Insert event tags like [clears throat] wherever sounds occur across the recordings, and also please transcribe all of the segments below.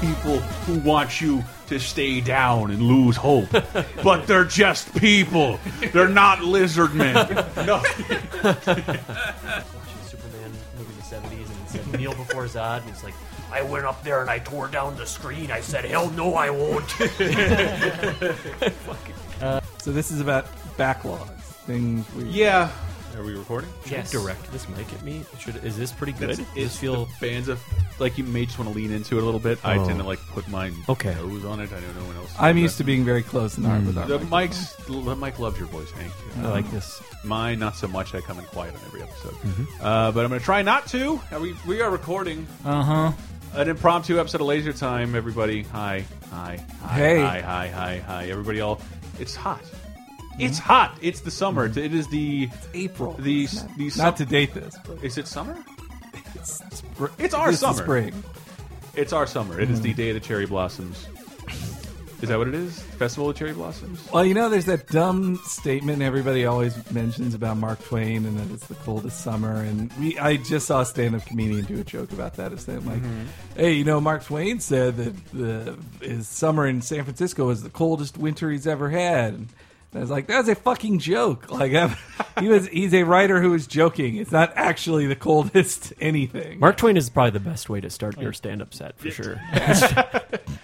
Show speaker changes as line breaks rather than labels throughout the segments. people who want you to stay down and lose
[laughs]
hope. but they're just people. They're not lizard men.
[laughs]
No.
Watching Superman movie in the seventies and it said kneel before Zod and it's like I went up there and I tore down the screen. I said, "Hell no, I [laughs] won't."
So this is about backlogs, things we
Yeah.
Are we recording?
yes. Direct this mic at me. Should is this pretty good?
That's-
Does
it's
this feel
the bands of like you may just want to lean into it a little bit. I
Oh.
tend to like put my
Okay.
nose on it. I know no one else.
I'm used to being very close in art with our
The
mic.
Mike's the Mike loves your voice, Hank.
I like this.
Mine not so much. I come in quiet on every episode,
Mm-hmm.
uh, but I'm going to try not to. Are we we are recording
Uh-huh.
an impromptu episode of Laser Time. Everybody, hi, hi, hi,
Hey.
hi, hi, hi, hi. Everybody, all it's hot.
Mm-hmm.
It's hot. It's the summer. It is the
April.
the
Not-
the
not to date this, but
Is it summer?
it's
It's our
this is
summer.
spring.
It's our summer. It is
Mm-hmm.
the day of the cherry blossoms. Is that what it is? Festival of cherry blossoms.
Well, you know, there's that dumb statement everybody always mentions about Mark Twain, and that it's the coldest summer. And we, I just saw a stand-up comedian do a joke about that, is that like, hey, you know, Mark Twain said that the his summer in San Francisco is the coldest winter he's ever had. And I was like, that's a fucking joke. Like, I'm, [laughs] he was, he's a writer who is joking. It's not actually the coldest [laughs] anything.
Mark Twain is probably the best way to start your stand-up set for sure.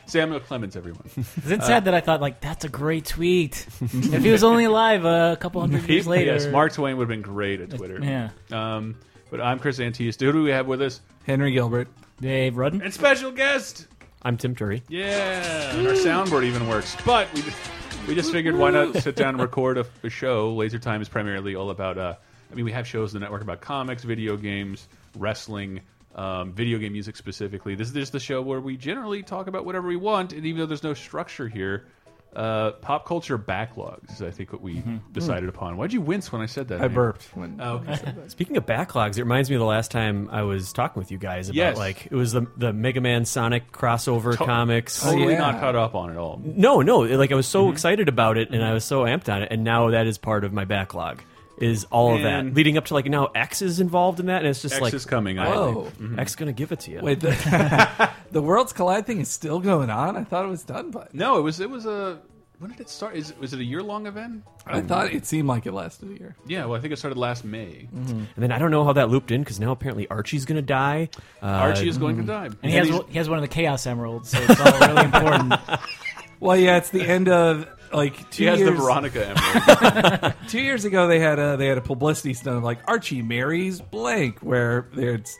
Samuel Clemens,
[laughs]
everyone.
Is it
Uh,
sad that I thought like that's a great tweet? if he was only alive uh, a
[laughs]
couple hundred years later,
Yes, Mark Twain would have been great at Twitter.
Yeah,
Um, but I'm Chris Antista. Who do we have with us?
Henry Gilbert.
Dave Rudden.
And special guest.
I'm Tim Turry.
Yeah, and our soundboard even works. But we just, we just figured why not sit down and record a, a show. Laser Time is primarily all about. Uh, I mean, we have shows in the network about comics, video games, wrestling, um, video game music specifically. This is just the show where we generally talk about whatever we want, and even though there's no structure here. Uh, pop culture backlogs is, I think, what we decided upon. Why'd you wince when Mm-hmm. Mm. I said that?
I
Hank?
burped. When,
Oh, okay.
Speaking of backlogs, it reminds me of the last time I was talking with you guys about
Yes.
like it was the the Mega Man Sonic crossover
To-
comics.
totally
yeah.
not caught up on at all.
No, no, like I was
Mm-hmm.
so excited about it and I was so amped on it, and now that is part of my backlog. Is all of
Man.
that leading up to like now X is involved in that, and it's just
X
like oh,
is Mm-hmm. coming. I
Whoa.
think.
X gonna give it to you.
Wait, the, [laughs] the Worlds Collide thing is still going on? I thought it was done by
No, it was it was a. When did it start? Is was it a year long event?
I thought it seemed like it lasted a year.
Yeah, well, I think it started last May.
And then I don't know how that looped in because now apparently Archie's gonna die. Uh,
Archie is going to die,
And he has,
he's-
one- he has one of the Chaos Emeralds, so it's all really
[laughs]
important.
Well, yeah, it's the end of [laughs] like two
he has
years.
the Veronica emerald.
Two years ago, they had a they had a publicity stunt of like Archie marries blank, where it's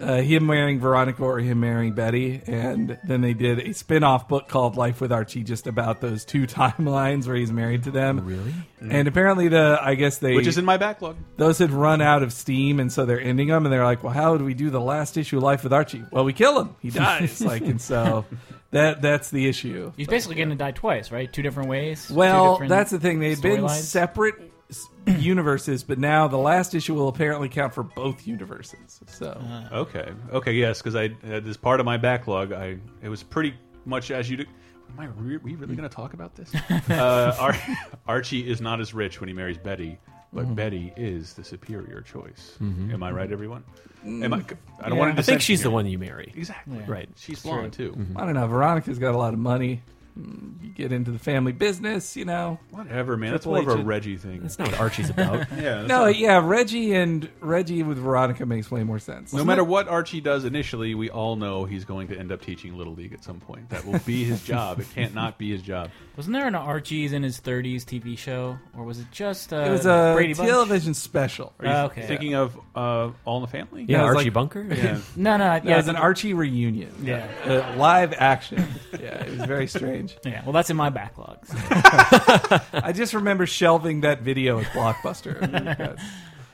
uh, him marrying Veronica or him marrying Betty, and then they did a spin off book called Life with Archie, just about those two [laughs] timelines where he's married to them. Really? Mm. And apparently, the I guess they
which is in my backlog.
those had run out of steam, and so they're ending them. And they're like, "Well, how would we do the last issue of Life with Archie? Well, we kill him. He [laughs] dies. like, and so that that's the issue.
He's basically going to die twice, right? Two different ways. two
Well,
different
that's the thing. They've been
storylines.
separate s- [clears throat] universes, but now the last issue will apparently count for both universes. So
Okay, okay, yes, because I uh, this part of my backlog. I it was pretty much as you. Do, am I re we really going to talk about this? uh, Ar Archie is not as rich when he marries Betty. But Betty is the superior choice. Am I right, everyone? Am I? I don't want to.
I think she's the one you marry.
Exactly.
Right.
She's blonde too.
I don't know. Veronica's got a lot of money. Mm, You get into the family business, you know.
Whatever, man. That's
Triple
more of a
H-
Reggie thing.
That's not what Archie's about.
[laughs] yeah. that's
No,
not-
yeah, Reggie and Reggie with Veronica makes way more sense.
No matter what Archie does initially, we all know he's going to end up teaching Little League at some point. That will be his job. It can't not be his job.
Wasn't there an Archie's in his 30s TV show? Or was it just. Uh,
it was a
Brady Bunch?
television special.
Are you
Oh, okay.
thinking of uh, All in the Family?
Yeah,
I was
Archie
like-
Bunker. [laughs]
Yeah.
No, no. Yeah,
Yeah, it was
I
an
think-
Archie reunion.
Yeah.
Uh, live action. Yeah, it was very strange.
Yeah, well, that's in my backlog. so.
I just remember shelving that video at Blockbuster. That's-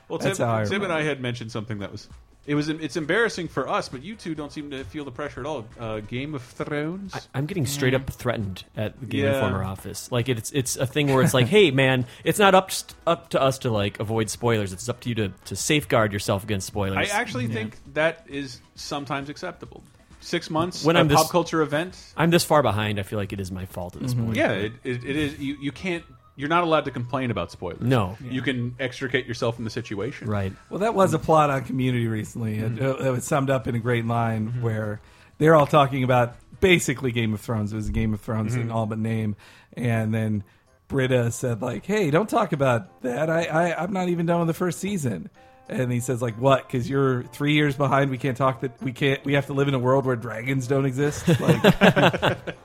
Well, Tim,
That's how I
Tim and
remember.
I had mentioned something that was. It was. It's embarrassing for us, but you two don't seem to feel the pressure at all. Uh, Game of Thrones.
I'm getting straight up threatened at the Game
Yeah.
Informer office. Like it's it's a thing where it's
[laughs]
like, hey man, it's not up up to us to like avoid spoilers. It's up to you to, to safeguard yourself against
I,
spoilers.
actually think that is sometimes acceptable. Six months
When
a
I'm this-
pop culture event.
I'm this far behind. I feel like it is my fault at this point.
Mm-hmm. Yeah, it, it, it is. You, you can't. You're not allowed to complain about spoilers.
No.
you can extricate yourself from the situation.
Right.
Well, that was a
Mm-hmm.
plot on Community recently. It, it was summed up in a great line where they're all talking about basically Game of Thrones. It was Game of Thrones
Mm-hmm.
in all but name. And then Britta said, like, hey, don't talk about that. I, I I'm not even done with the first season. And he says, like, what? Because you're three years behind. We can't talk that. We can't. We have to live in a world where dragons don't
[laughs]
exist. Like, [laughs]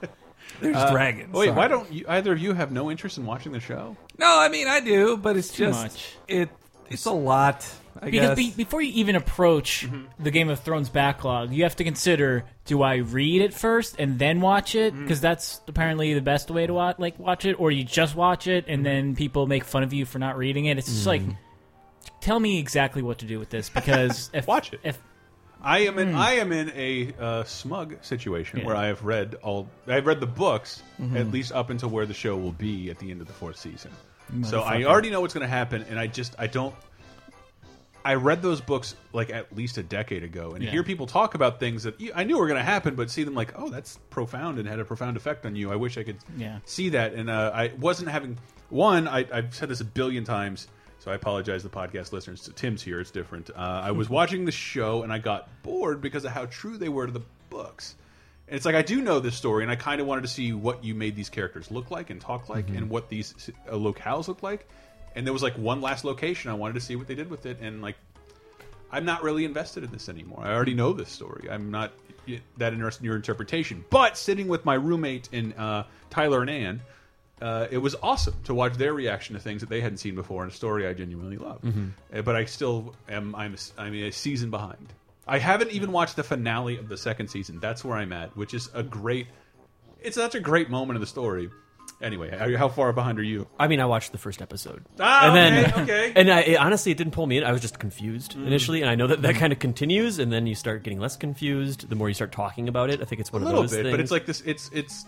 there's
Uh,
dragons.
Wait, why
Sorry.
don't you, either of you have no interest in watching the show?
No, I mean I do, but it's
Too
just
much.
it. It's a lot. I
Because
guess.
be, before you even approach
Mm-hmm.
the Game of Thrones backlog, you have to consider: do I read it first and then watch it?
Mm-hmm.
Because that's apparently the best way to watch, like watch it, or you just watch it
Mm-hmm.
and then people make fun of you for not reading it. It's just like,
Mm-hmm.
tell me exactly what to do with
[laughs]
this because if
Watch it.
if
I am in I am in a uh, smug situation
Hmm. Yeah. Mm-hmm.
where I have read all I've read the books at least up until where the show will be at the end of the fourth season. So I already know what's going to happen, and I just I don't. I read those books like at least a decade ago, and
Yeah.
hear people talk about things that I knew were going to happen, but see them like, oh, that's profound and had a profound effect on you. I wish I could
Yeah.
see that, and uh, I wasn't having one. I, I've said this a billion times, so I apologize to the podcast listeners. To Tim's here; it's different. Uh, I was watching the show and I got bored because of how true they were to the books. And it's like I do know this story, and I kind of wanted to see what you made these characters look like and talk like, and what these uh, locales look like. And there was like one last location I wanted to see what they did with it, and like I'm not really invested in this anymore. I already know this story. I'm not that interested in your interpretation. But sitting with my roommate in uh, Tyler and Ann, uh, it was awesome to watch their reaction to things that they hadn't seen before in a story I genuinely love.
Mm-hmm.
Uh, but I still am. I'm. I'm a season behind. I haven't even watched the finale of the second season. That's where I'm at, which is a great. It's such a great moment of the story. Anyway, how- how far behind are you?
I mean, I watched the first episode,
Ah,
and then
okay, okay. Mm.
[laughs] and I, it- honestly, it didn't pull me in. I was just confused initially, and I know that that kind of continues, and then you start getting less confused the more you start talking about it. I think it's one
A
of
little
those
bit,
things.
but it's like this. It's it's.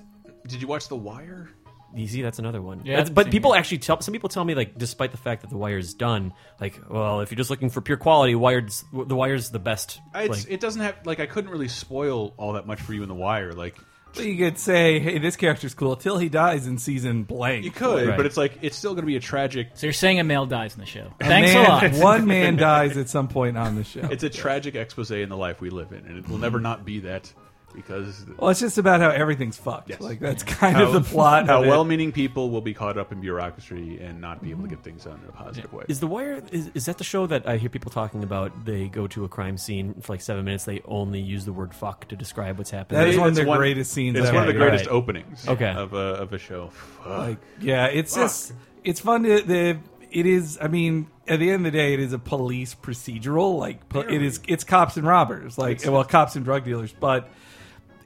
Did you watch The Wire?
easy. That's another one.
Yeah, I
That's-
haven't
but
seen
people actually tell some people tell me like, despite the fact that the wire's done, like, well, if you're just looking for pure quality, wired's the wire's the best.
It's,
like,
it doesn't have like I couldn't really spoil all that much for you in the wire. Like
But you could say, hey, this character's cool till he dies in season blank.
you could,
Right.
but it's like it's still going to be a tragic.
so you're saying a male dies in the show.
A
Thanks
man-
a lot.
One man dies at some point on
[laughs]
the show.
It's a tragic expose in the life we live in, and it will
Mm-hmm.
never not be that
[laughs]
because
well, it's just about how everything's fucked.
Yes.
Like that's kind
how,
of the [laughs] plot.
How
of it.
well-meaning people will be caught up in bureaucracy and not be able to
Mm-hmm.
get things done in a positive way.
Is the wire is, is that the show that I hear people talking about? They go to a crime scene for like seven minutes. They only use the word "fuck" to describe what's happening.
That is
It's
one of the greatest scenes
It's
ever.
one of the
Right.
greatest openings.
Okay.
Of a of a show. Fuck.
Like, yeah, it's just it's fun to the. It is. I mean, at the end of the day, it is a police procedural. Like po- it is. It's cops and robbers. Like well, cops and drug dealers. But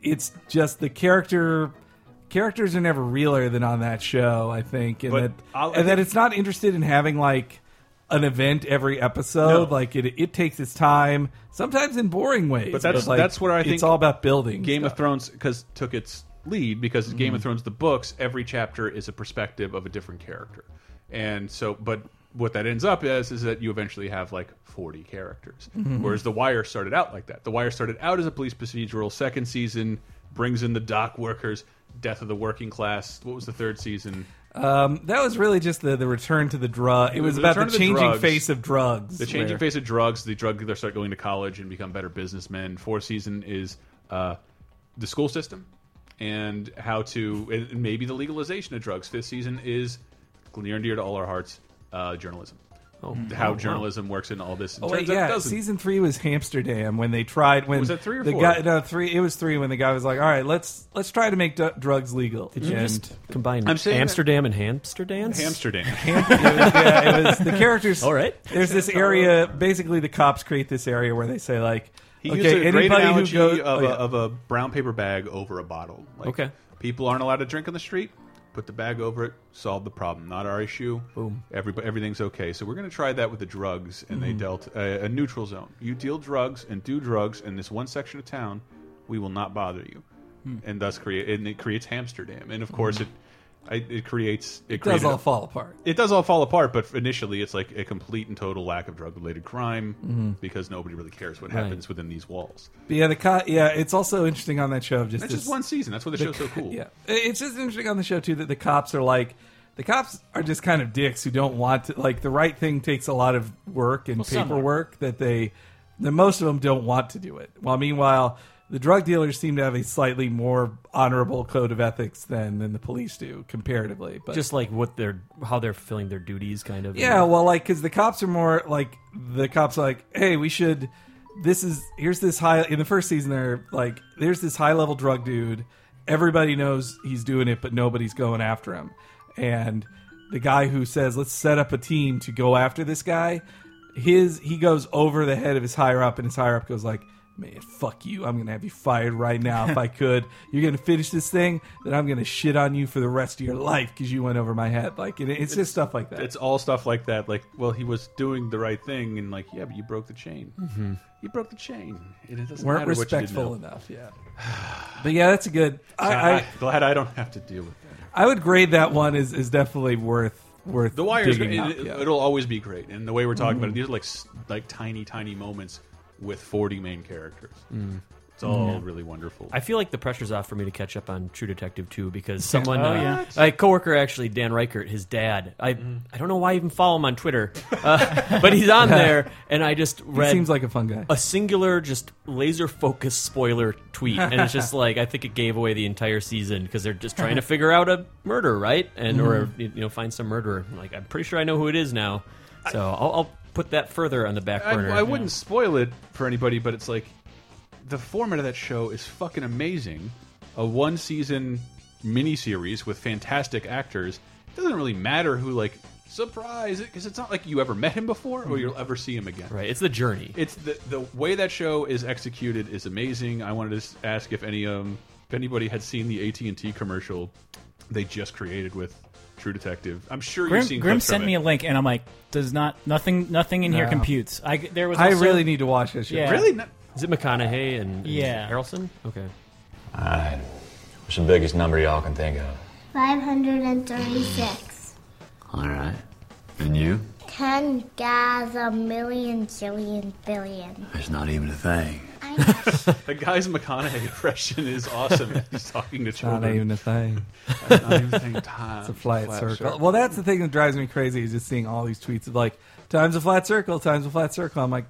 it's just the character. Characters are never realer than on that show. I think, and
But
that
I'll- I
and that
think-
it's not interested in having like an event every episode.
No.
Like it, it takes its time. Sometimes in boring ways.
But that's-
like,
that's what I think
It's all about building.
Game of Thrones Mm. because took its lead because Game of Thrones the books every chapter is a perspective of a different character, and so but what that ends up is is that you eventually have like 40 characters whereas the wire started out like that the wire started out as a police procedural second season brings in the dock workers death of the working class what was the third season
Um, that was really just the, the return to the drug. It was
The
about
return
the
to the
changing
drugs.
face of drugs.
The changing
where-
face of drugs. The drug dealers start going to college and become better businessmen. Fourth season is uh, the school system and how to and and maybe the legalization of drugs. Fifth season is near and dear to all our hearts, uh, journalism. how journalism works in all this. It
Oh, wait,
turns out it
yeah,
doesn't.
season three was Hamsterdam when they tried when
Was that three or
the
four?
guy no three it was three when the guy was like all right let's let's try to make d- drugs legal
Did you
And-
just combine
I'm saying that-
Amsterdam and hamster dance?
Amsterdam.
[laughs] it was, yeah, it was the characters
All right.
there's
[laughs]
this area basically the cops create this area where they say like
He
okay
used a great
anybody who
analogy
goes
of,
oh, yeah.
a, of a brown paper bag over a bottle. Like,
Okay.
People aren't allowed to drink on the street. Put the bag over it. Solve the problem. Not our issue. Boom. Everybody, everything's okay. So we're going to try that with the drugs, and they
Mm-hmm.
dealt a, a neutral zone. You deal drugs and do drugs in this one section of town, we will not bother you,
Hmm.
and thus create and it creates Amsterdam, and of course it, I, it creates it,
does
created
all
a-
fall apart
it does all fall apart, but initially it's like a complete and total lack of drug related crime
Mm-hmm.
because nobody really cares what happens within these walls.
but yeah the co- yeah it's also interesting on that show of just
That's
this,
just one season. That's why the, show's so cool.
Yeah, it's just interesting on the show too that the cops are like, the cops are just kind of dicks who don't want to. Like the right thing takes a lot of work and
some are.
paperwork that they, that most of them don't want to do it. While meanwhile, the drug dealers seem to have a slightly more honorable code of ethics than than the police do comparatively. But
just like what they're how they're filling their duties, kind of.
yeah, well, like because the cops are more like the cops are like, hey, we should. This is here's this high in the first season. They're like, there's this high level drug dude. Everybody knows he's doing it, but nobody's going after him. And the guy who says, let's set up a team to go after this guy, his he goes over the head of his higher up, and his higher up goes like. Man, fuck you. I'm going to have you fired right now if I could. You're going to finish this thing, then I'm going to shit on you for the rest of your life because you went over my head. Like, it, it's, just stuff like that.
It's all stuff like that. Like, well, he was doing the right thing, and like, yeah, but you broke the chain. You broke the chain. It doesn't
Mm-hmm. weren't
matter what you did
respectful
now. [sighs]
enough. Yeah, but yeah, that's a good. I, I,
glad I don't have to deal with that.
I would grade that one as is definitely worth worth
The Wire is
digging
gonna-
up,
it,
yeah. Mm-hmm.
it'll always be great, and the way we're talking about it, these are like s- like tiny, tiny moments with forty main characters.
Mm.
It's all really wonderful.
I feel like the pressure's off for me to catch up on True Detective too because someone,
Oh,
uh,
yeah.
my coworker actually, Dan Reichert, his dad. I I don't know why I even follow him on Twitter, uh, [laughs] but he's on there, and I just
He
read
seems like a fun guy.
a singular, just laser focused spoiler tweet, and
[laughs]
it's just like I think it gave away the entire season because they're just trying to figure out a murder, right? And or
Mm-hmm.
you know find some murderer. I'm like I'm pretty sure I know who it is now, so I'll, I'll put that further on the back
I,
burner.
I wouldn't spoil it for anybody, but it's like the format of that show is fucking amazing. A one season miniseries with fantastic actors. It doesn't really matter who like surprise it because it's not like you ever met him before
Mm-hmm.
or you'll ever see him again.
Right, it's the journey.
It's the the way that show is executed is amazing. I wanted to s- ask if any um if anybody had seen the AT and T commercial they just created with True Detective. I'm sure you've
Grim,
seen.
Grim
clips
sent
from
me
it.
a link, and I'm like, does not nothing nothing in here
No.
computes. I there was
I
also-
really need to watch this. Show.
Yeah.
really. Not,
Is it McConaughey and, and
Yeah.
Harrelson? Okay.
What's the biggest number y'all can think of?
536
All right. And you?
10 guys a million jillion billion
It's not even a thing.
the guy's McConaughey impression is awesome. He's talking to
Not
children.
even a thing.
Not even [laughs] saying time.
It's a flat, circle. Well, that's the thing that drives me crazy is just seeing all these tweets of like times a flat circle, times a flat circle. I'm like,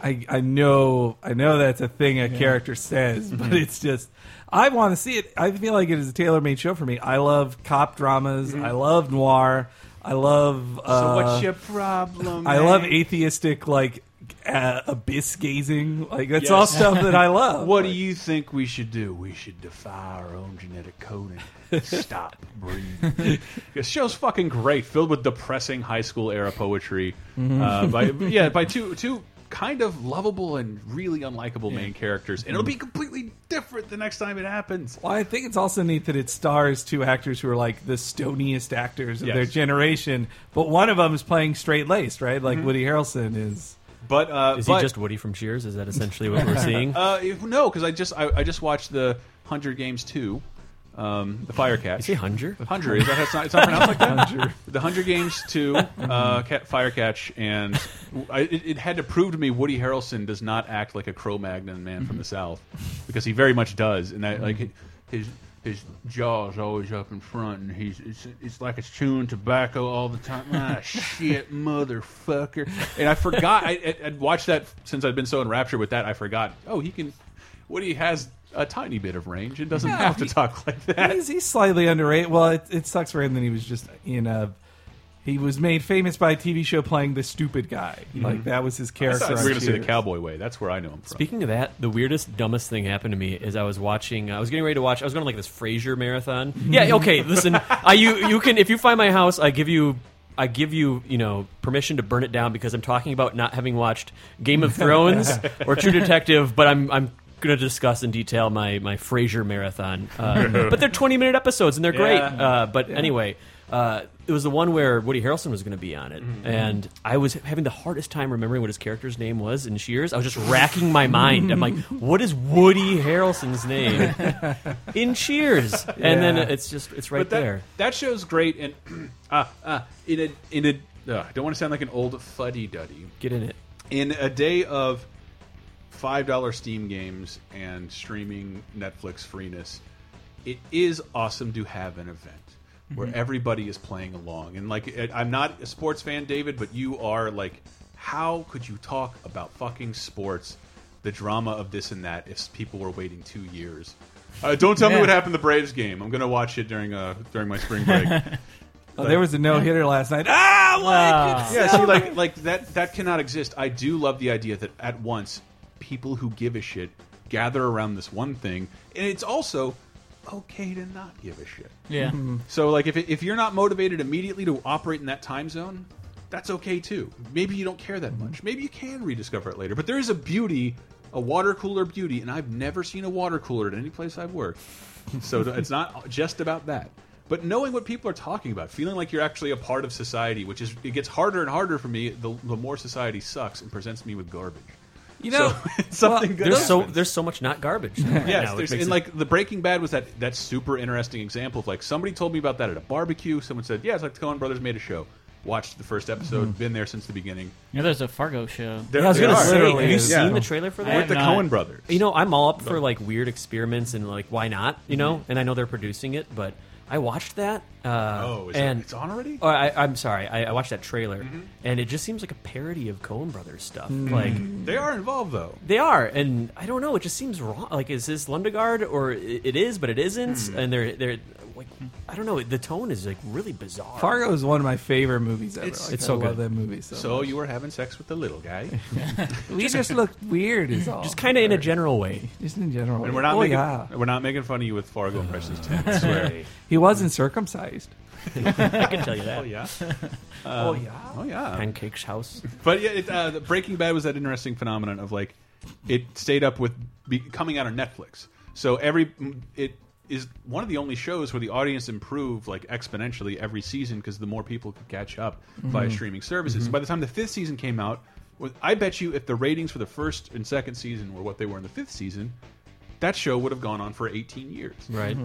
I I know I know that's a thing a character says, but it's just I want to see it. I feel like it is a tailor made show for me. I love cop dramas. I love noir. I love. Uh,
Mm-hmm. So what's your problem?
I love E-
man?
atheistic like uh, abyss gazing. Like that's
Yes.
all stuff
[laughs]
that I love.
What do you think we should do? We should defy our own genetic coding. Stop breathing. this show's fucking great, filled with depressing high school era poetry. Uh, by yeah, by two two kind of lovable and really unlikable main characters, and it'll be completely different the next time it happens.
Well, I think it's also neat that it stars two actors who are like the stoniest actors of
Yes.
their generation, but one of them is playing straight laced, right? Like
Mm-hmm.
Woody Harrelson is.
But uh,
Is
but,
he just Woody from Cheers? Is that essentially what
[laughs]
we're seeing?
uh, if- no? Because I just I, I just watched the Hunger Games two, um, the Fire Cat.
Is
[laughs]
he Hunger?
Hunter. Is that how it's not, it's not pronounced like that? The Hunger Games 2, uh, Cat, Fire Catch, and I, it, it had to prove to me Woody Harrelson does not act like a Cro-Magnon man from the South because he very much does, and that like his his jaw's always up in front, and he's it's, it's like it's chewing tobacco all the time. Ah, shit, motherfucker! And I forgot I, I, I'd watched that since I'd been so enraptured with that. I forgot. Oh, he can. Woody has a tiny bit of range and doesn't have to talk like that.
He's, he's slightly underrated. Well, it, it sucks for him that he was just in a. He was made famous by a TV show playing the stupid guy.
Mm-hmm.
Like that was his character.
We're
on
going to see the
Cheers.
cowboy way. That's where I know him from.
Speaking of that, the weirdest, dumbest thing happened to me is I was watching. I was getting ready to watch. I was going to like this Frasier marathon. Yeah, okay. Listen, I you you can if you find my house, I give you. I give you, you know, permission to burn it down because I'm talking about not having watched Game of Thrones or True Detective, but I'm I'm going to discuss in detail my my Frasier marathon.
[laughs]
Uh, but they're 20 minute episodes and they're great.
Yeah.
Uh, but anyway, uh, it was the one where Woody Harrelson was going to be on it,
Mm-hmm.
and I was having the hardest time remembering what his character's name was in Shears. I was just racking my mind.
[laughs]
I'm like, what is Woody Harrelson's name in Shears? And then
Yeah.
it's just it's right
that,
there.
That show's great, and [clears throat] uh, uh, in a in a uh, I don't want to sound like an old fuddy duddy.
Get in it.
In a day of five dollar Steam games and streaming Netflix freeness, it is awesome to have an event where everybody is playing along. And like, I- I'm not a sports fan, David, but you are. Like, how could you talk about fucking sports? the drama of this and that if people were waiting two years. Uh, don't tell me what happened to the Braves game. I'm going to watch it during uh, during my spring break.
Oh, there was a no hitter last night. Ah, what?
Ah.
yeah, see, like like that that cannot exist. I do love the idea that at once people who give a shit gather around this one thing, and it's also okay to not give a shit.
Yeah.
Mm-hmm.
So like if if you're not motivated immediately to operate in that time zone, that's okay too. Maybe you don't care that much. Maybe you can rediscover it later. But there is a beauty, a water cooler beauty, and I've never seen a water cooler at any place I've worked. [laughs] So it's not just about that. But knowing what people are talking about, feeling like you're actually a part of society, which is it gets harder and harder for me the, the more society sucks and presents me with garbage.
You know,
[laughs] Something
well,
good
There's so
happens.
there's so much
[laughs]
not garbage. right
Yes,
now, which
there's,
makes
and
it-
like the Breaking Bad was that that super interesting example of like somebody told me about that at a barbecue. Someone said, "Yeah, it's like the Coen Brothers made a show. Watched the first
Hmm.
episode. Been there since the beginning."
You know, there's a Fargo show.
There,
I was
they
gonna
are.
say, have you
Literally is.
Yeah.
seen the trailer for
I
that?
with the
have not.
Cohen brothers.
You know, I'm all up for like weird experiments and like why not? You
Mm-hmm.
know, and I know they're producing it, but I watched that. Uh,
oh, is
and
it, it's on Mm-hmm. already.
Oh, I, I'm sorry, I, I watched that trailer, and it just seems like a parody of Coen Brothers stuff.
Mm.
Like
they are involved though.
they are, and I don't know, it just seems wrong. Like is this Lundegaard or it, it is, but it isn't,
Mm.
and they're they're like I don't know. The tone is like really bizarre.
Fargo is one of my favorite movies ever.
It's-
Like,
it's
I
so
love
good.
that movie so.
So
much.
you were having sex with the little guy,
we
[laughs]
just look weird, is all.
just kind of in a general way.
just in general.
and we're not
oh
making
yeah,
we're not making fun of you with Fargo impressions. Tim,
[laughs]
I swear.
he wasn't circumcised.
I can tell you that.
oh yeah,
oh yeah.
oh yeah.
Pancake's house.
But yeah, it, uh, the Breaking Bad was that interesting phenomenon of like it stayed up with be, coming out on Netflix. So every it is one of the only shows where the audience improved like exponentially every season because the more people could catch up via
Mm-hmm.
streaming services. By the time the fifth season came out, with, I bet you if the ratings for the first and second season were what they were in the fifth season, that show would have gone on for 18 years.
Right.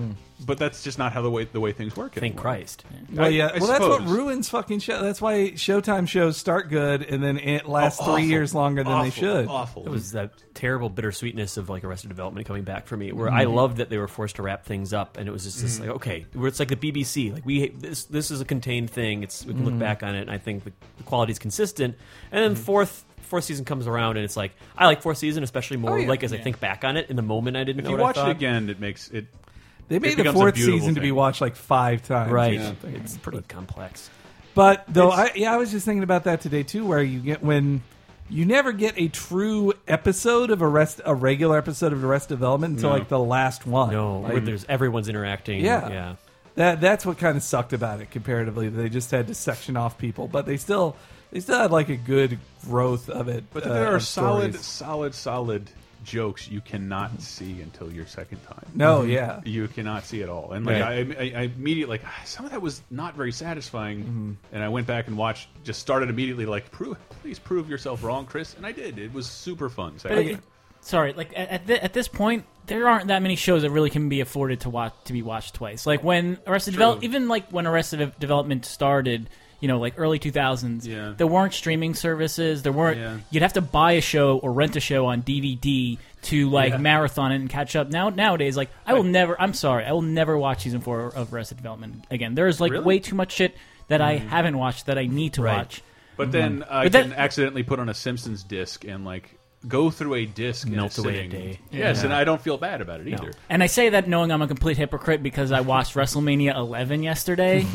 But that's just not how the way the way things work.
Thank
anymore.
Christ.
Well,
I-
yeah.
I
well, that's what
suppose.
ruins fucking show. That's why Showtime shows start good and then it lasts
Oh,
three
awful.
years longer than they
Awful,
should.
Awful.
It was that terrible bittersweetness of like Arrested Development coming back for me, where I
Mm-hmm.
loved that they were forced to wrap things up, and it was just this like okay, where it's like the BBC, like we this this is a contained thing. It's we can
Mm-hmm.
look back on it, and I think the, the quality is consistent. And then fourth fourth season comes around, and it's like I like fourth season especially more.
yeah.
Like as I think back on it, in the moment I didn't
Oh, If
know
you
what I
watch it
thought.
again, it makes it
They made the
becomes a
fourth
beautiful
season to be
thing.
watched like five times. or
right?
uh,
something.
It's pretty complex.
But though, I, yeah, I was just thinking about that today too, where you get when you never get a true episode of arrest, a regular episode of Arrest Development until like the last one.
No,
Like,
where there's everyone's interacting.
Yeah.
yeah.
that that's what kind of sucked about it comparatively. They just had to section off people, but they still they still had like a good growth of it.
But
uh,
there are
of
solid,
stories.
solid, solid jokes you cannot see until your second time.
No, yeah.
You cannot see at all, and like I, I, I immediately like [sighs] "Ah, some of that was not very satisfying, and I went back and watched. Just started immediately like prove, please prove yourself wrong, Chris, and I did. It was super fun. So
But it- sorry, like at at, thi- at this point, there aren't that many shows that really can be afforded to watch to be watched twice. Like when Arrested Development, even like when Arrested Dev- Development started, you know, like early two thousands,
Yeah.
there weren't streaming services. There weren't.
Yeah.
You'd have to buy a show or rent a show on DVD to like marathon it and catch up. Now nowadays, like I will never. I'm sorry, I will never watch season four of Arrested Development again. There is like
Really? Hmm.
way too much shit that I haven't watched that I need to
Right.
watch.
But then I
But that-
can accidentally put on a Simpsons disc and like go through a disc and
Melt
it's
away a
sitting-
day.
Yes, and I don't feel bad about it either.
And I say that knowing I'm a complete hypocrite because I watched WrestleMania 11 yesterday.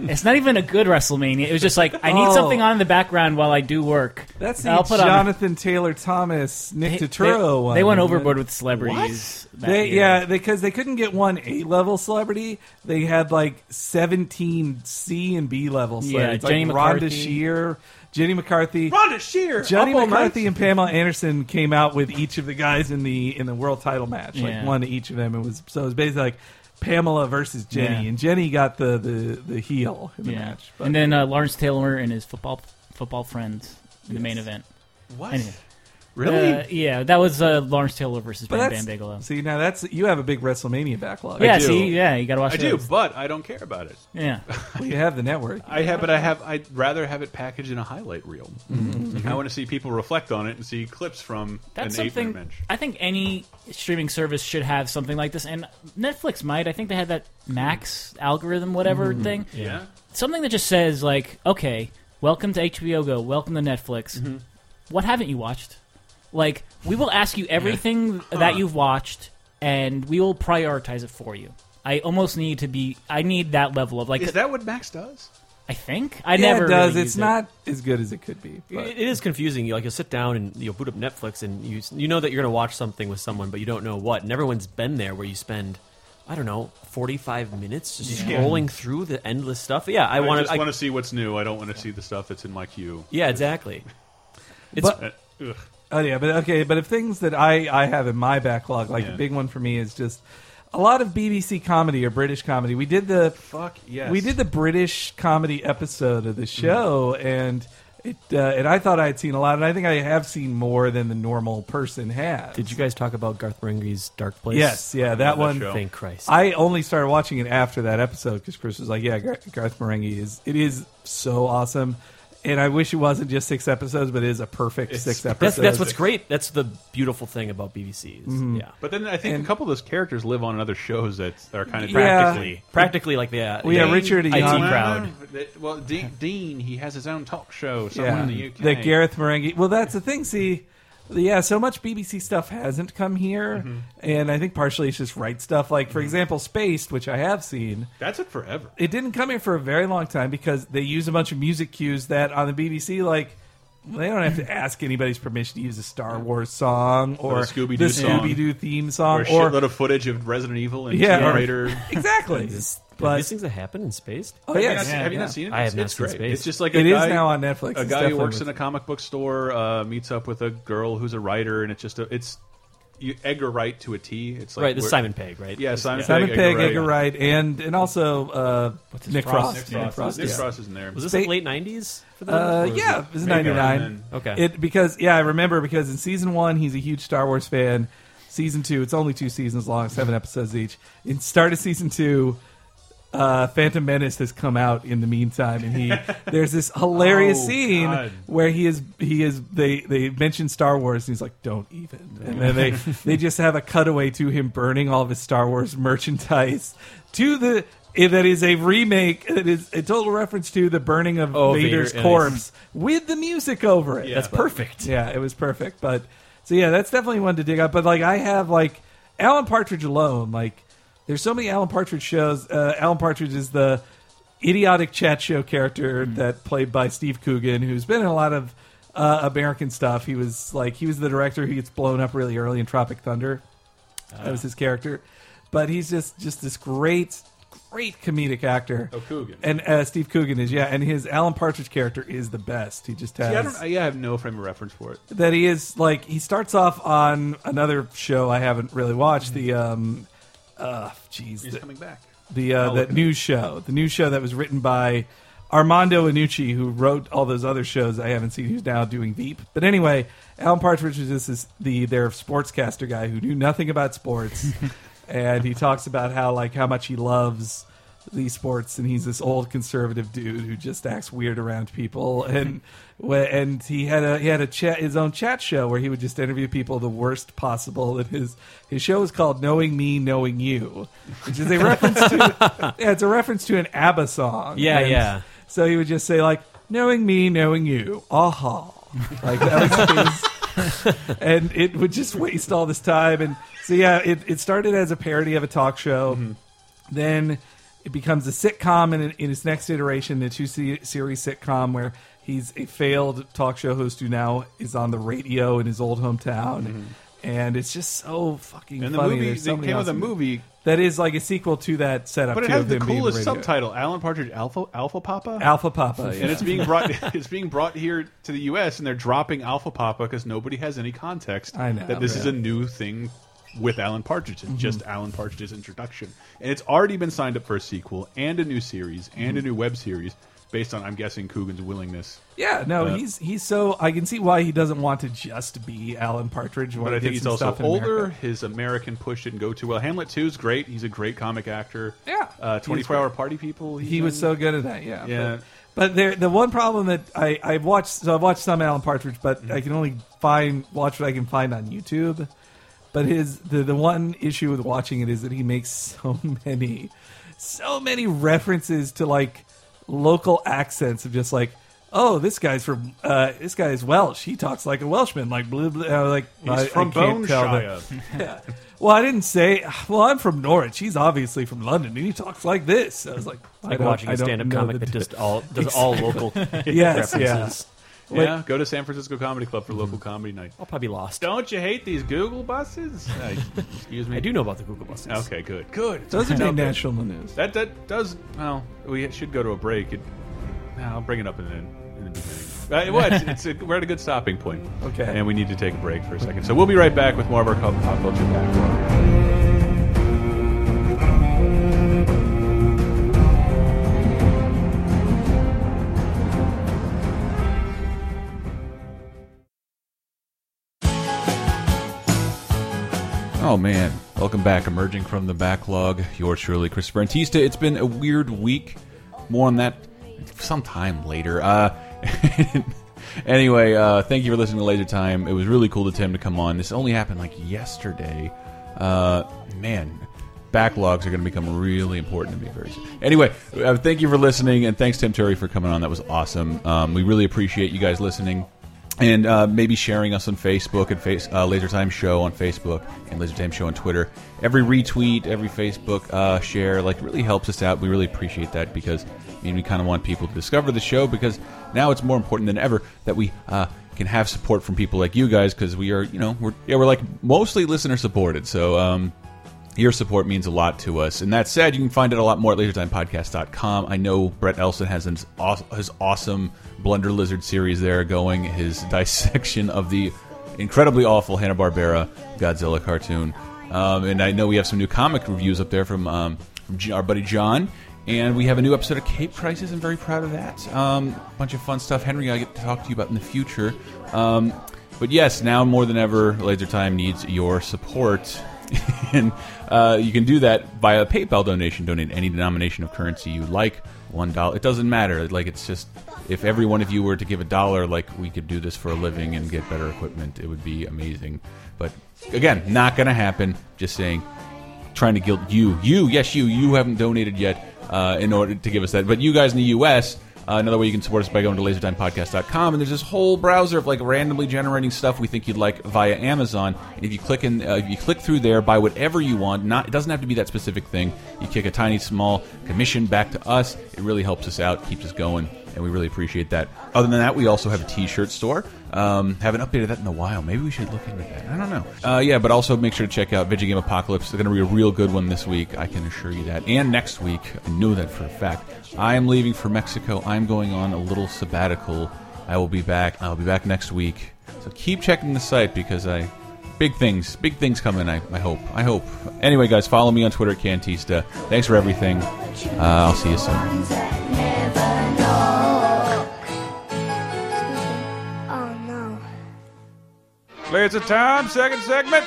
it's not even a good WrestleMania. It was just like I need
Oh.
something on in the background while I do work.
That's the
I'll put on.
Jonathan Taylor Thomas,
They,
Nick
they,
Turturro one.
they went
isn't
overboard
it?
with celebrities. that
They,
year.
yeah, because they couldn't get one A level celebrity. They had like 17 C and B level
Yeah,
celebrities.
Jenny
like
McCarthy.
Rhonda Shear, Jenny McCarthy.
Rhonda Shear,
Johnny
up all
McCarthy
night.
and Pamela Anderson came out with each of the guys in the in the world title match, like
Yeah.
one to each of them. It was so it was basically like Pamela versus Jenny,
Yeah.
and Jenny got the the, the heel in the
Yeah.
match. But
And then uh, Lawrence Taylor and his football football friends in the main event.
What?
Anyway.
Really?
Uh, yeah, that was uh, Lawrence Taylor versus
but
Bam
that's-
Bam Bigelow.
see now that's you have a big WrestleMania backlog.
yeah,
do.
see, yeah, you got to watch.
I do,
those.
but I don't care about it.
[laughs]
Yeah.
Well, you have the network.
I have, but I have. I'd rather have it packaged in a highlight reel.
Mm-hmm.
I want to see people reflect on it and see clips from
That's
an eight-minute
something.
match.
I think any streaming service should have something like this, and Netflix might. I think they had that Max algorithm, whatever thing.
Mm-hmm. Yeah,
Something that just says
Mm-hmm.
like, okay, welcome to HBO Go, welcome to Netflix. What haven't you watched? Like we will ask you everything that you've watched, and we will prioritize it for you. I almost need to be. I need that level of like.
Is that what Max does?
I think I
yeah,
never
it does.
really
it's
used it.
not as good as it could be. But
It it is confusing. You like you'll sit down and you'll boot up Netflix and you you know that you're going to watch something with someone, but you don't know what. And everyone's been there where you spend I don't know forty five minutes just scrolling through the endless stuff. Yeah, I
I,
want
just
to.
want to see what's new. I don't want to see the stuff that's in my queue.
Yeah,
[laughs]
exactly. It's
But-
Uh, ugh.
Oh yeah, but okay, but if things that I I have in my backlog, like
Yeah.
the big one for me is just a lot of BBC comedy or British comedy. We did the
Fuck yes.
we did the British comedy episode of the show, and it uh, and I thought I had seen a lot, and I think I have seen more than the normal person has.
did you guys talk about Garth Marenghi's Dark Place? Oh,
Yes, yeah, that
that
one.
show.
Thank Christ.
I only started watching it after that episode because Chris was like, "Yeah, Gar- Garth Marenghi is it is so awesome," and I wish it wasn't just six episodes, but it is a perfect six
that's
episodes.
that's what's great. That's the beautiful thing about BBC. Is,
Mm-hmm.
Yeah,
But then I think
And-
a couple of those characters live on other shows that are kind of
Yeah.
practically.
practically like the uh,
Well, yeah,
the
Richard
IT
Young-
crowd.
Well, Dean, Dean, he has his own talk show somewhere
yeah,
in the UK.
that Gareth Marenghi. Well, that's the thing. See, yeah, so much BBC stuff hasn't come here,
Mm-hmm.
and I think partially it's just right stuff. Like for example, Spaced, which I have seen.
That's it forever.
it didn't come here for a very long time because they use a bunch of music cues that on the BBC, like they don't have [laughs] to ask anybody's permission to use a Star Wars song or,
the Scooby-Doo
the
song.
Scooby-Doo theme
Or a
song Um, or,
shitload of footage of Resident Evil and
Yeah.
Tomb Raider.
exactly.
Like,
but
these things that happen in space.
oh yes,
Have you not- have you
yeah.
not seen it?
I have not
it's
seen
great.
Space.
It's just like a
It is
guy-
now on Netflix.
A
It's
guy who
definitely
works
worth
in a comic book store uh, meets up with a girl who's a writer, and it's just a it's you, Edgar Wright to a T. It's like
right, this
we're-
is Simon Pegg, right?
Yeah, Simon,
Simon
Pegg,
Pegg,
Edgar
Edgar Wright, and and also uh,
his
Nick
Frost?
Frost.
Nick
Nick
Frost,
Frost,
Nick
yeah.
Frost is in there.
Was this like
Spa-
late '90s? For them?
Uh,
Or was
yeah,
it-
it was
Maybe
ninety
around
nine.
then. Okay.
It because yeah, I remember because in season one he's a huge Star Wars fan. Season two, it's only two seasons long, seven episodes each. In start of season two, uh, Phantom Menace has come out in the meantime,
[laughs]
and he there's this hilarious
Oh,
scene
God.
where he is he is they they mention Star Wars, and he's like, "Don't even," and then they they just have a cutaway to him burning all of his Star Wars merchandise to the. That is a remake. That is a total reference to the burning of
Oh,
Vader's
Vader, yeah.
corpse with the music over it.
That's
But-
perfect.
Yeah, it was perfect. But so yeah, that's definitely one to dig up. But like I have like Alan Partridge alone. Like there's so many Alan Partridge shows. Uh, Alan Partridge is the idiotic chat show character that played by Steve Coogan, who's been in a lot of uh, American stuff. He was like he was the director who gets blown up really early in Tropic Thunder. that was his character. But he's just just this great. Great comedic actor.
Oh, Coogan.
and uh, Steve Coogan is yeah, and his Alan Partridge character is the best. He just has
Yeah, I, don't, yeah, I have no frame of reference for it.
that he is like he starts off on another show I haven't really watched the um uh jeez
He's
the,
coming back.
the uh, that news show the news show that was written by Armando Iannucci who wrote all those other shows I haven't seen who's now doing Veep but anyway Alan Partridge is this is the their sportscaster guy who knew nothing about sports and he talks about how like how much he loves these sports and he's this old conservative dude who just acts weird around people and wh- and he had a he had a chat his own chat show where he would just interview people the worst possible and his his show is called knowing me knowing you which is a reference to yeah, it's a reference to an abba song
Yeah,
And
yeah.
so he would just say like knowing me knowing you aha like that was his
[laughs]
and it would just waste all this time. And so yeah, it, it started as a parody of a talk show,
Mm-hmm.
then it becomes a sitcom in, in its next iteration, a two se- series sitcom where he's a failed talk show host who now is on the radio in his old hometown.
Mm-hmm.
And it's just so fucking
And the
funny.
movie,
There's
they
so many
came with a
awesome-
movie,
that is like a sequel to that setup.
but it
too,
has
of
the
them being on
coolest
radio.
subtitle: Alan Partridge Alpha Alpha Papa.
Alpha Papa, yeah.
and it's being brought
[laughs]
it's being brought here to the U.S. and they're dropping Alpha Papa because nobody has any context
I know,
that this is
yeah. Mm-hmm.
a new thing with Alan Partridge. It's just Alan Partridge's introduction, and it's already been signed up for a sequel and a new series and
Mm-hmm.
a new web series based on I'm guessing Coogan's willingness.
Yeah, no, he's he's so I can see why he doesn't want to just be Alan Partridge.
But I think he's also older. His American push didn't go too well. Hamlet Two is great. He's a great comic actor.
Yeah.
uh,
He's
24 Hour Party People. he's
He was
in.
so good at that. Yeah.
Yeah.
But, but there, the one problem that I I've watched, so I've watched some Alan Partridge, but
Mm-hmm.
I can only find watch what I can find on YouTube. But his the the one issue with watching it is that he makes [laughs] so many, so many references to like local accents of just like. oh, this guy's from uh, this guy's Welsh. He talks like a Welshman, like blah, blah, uh, like
He's
I,
from
I can't tell the-
Boneshire.
[laughs] Well, I didn't say. Well, I'm from Norwich. He's obviously from London, and he talks like this. I was like, I
Like
don't-
watching
I
a
don't
stand-up
know
comic
the
that
di-
just all does all local
[laughs] yes,
references.
Yeah, go to San Francisco Comedy Club for local
Mm-hmm.
comedy night.
I'll probably be lost.
Don't you hate these Google buses? Uh, excuse me.
I do know about the Google buses.
Okay, good, good.
Those are
No,
made
good.
national news.
That that does. Well, we should go to a break. It, nah, I'll bring it up in the, in the beginning. Uh, well, it's, it's a, we're at a good stopping point.
Okay.
And we need to take a break for a second. So we'll be right back with more of our pop pop culture background. Oh man, welcome back. Emerging from the backlog, yours truly, Chris Brentista. It's been a weird week. More on that sometime later. Uh, [laughs] anyway, uh, thank you for listening to Laser Time. It was really cool to Tim to come on. This only happened like yesterday. Uh, man, backlogs are going to become really important to me very soon. Anyway, uh, thank you for listening, and thanks Tim Terry for coming on. That was awesome. Um, we really appreciate you guys listening and uh, maybe sharing us on Facebook and face uh, Laser Time Show on Facebook and Laser Time Show on Twitter. Every retweet, every Facebook uh, share, like really helps us out. We really appreciate that because I mean we kind of want people to discover the show because now it's more important than ever that we uh, can have support from people like you guys because we are you know we're yeah we're like mostly listener supported. So um, your support means a lot to us. And that said, you can find out a lot more at lasertimepodcast.com. I know Brett Elson has his awesome, his awesome Blunder Lizard series there going, his [laughs] dissection of the incredibly awful Hanna-Barbera Godzilla cartoon. Um, and I know we have some new comic reviews up there from, um, from J- our buddy John. And we have a new episode of Cape Crisis. I'm very proud of that. A um, bunch of fun stuff. Henry, I get to talk to you about in the future. Um, but yes, now more than ever, Laser Time needs your support [laughs] and uh, you can do that via a PayPal donation. Donate any denomination of currency you like. One dollar. It doesn't matter. Like it's just if every one of you were to give a dollar, like we could do this for a living and get better equipment. It would be amazing. But again, not gonna happen. Just saying trying to guilt you. You, yes, you. You haven't donated yet uh, in order to give us that. But you guys in the U.S., uh, another way you can support us is by going to lasertimepodcast.com. And there's this whole browser of like randomly generating stuff we think you'd like via Amazon. And if you click in, uh, if you click through there, buy whatever you want. Not it doesn't have to be that specific thing. You kick a tiny, small commission back to us. It really helps us out, keeps us going and we really appreciate that. Other than that, we also have a T-shirt store. Um, haven't updated that in a while. Maybe we should look into that. I don't know. Uh, yeah, but also make sure to check out Video Game Apocalypse. They're going to be a real good one this week. I can assure you that. And next week, I know that for a fact. I am leaving for Mexico. I'm going on a little sabbatical. I will be back. I'll be back next week. So keep checking the site because I Big things, big things coming. I, I hope. I hope. Anyway, guys, follow me on Twitter at Cantista. Thanks for everything. Uh, I'll see you soon.
Oh no.
It's a time, second segment.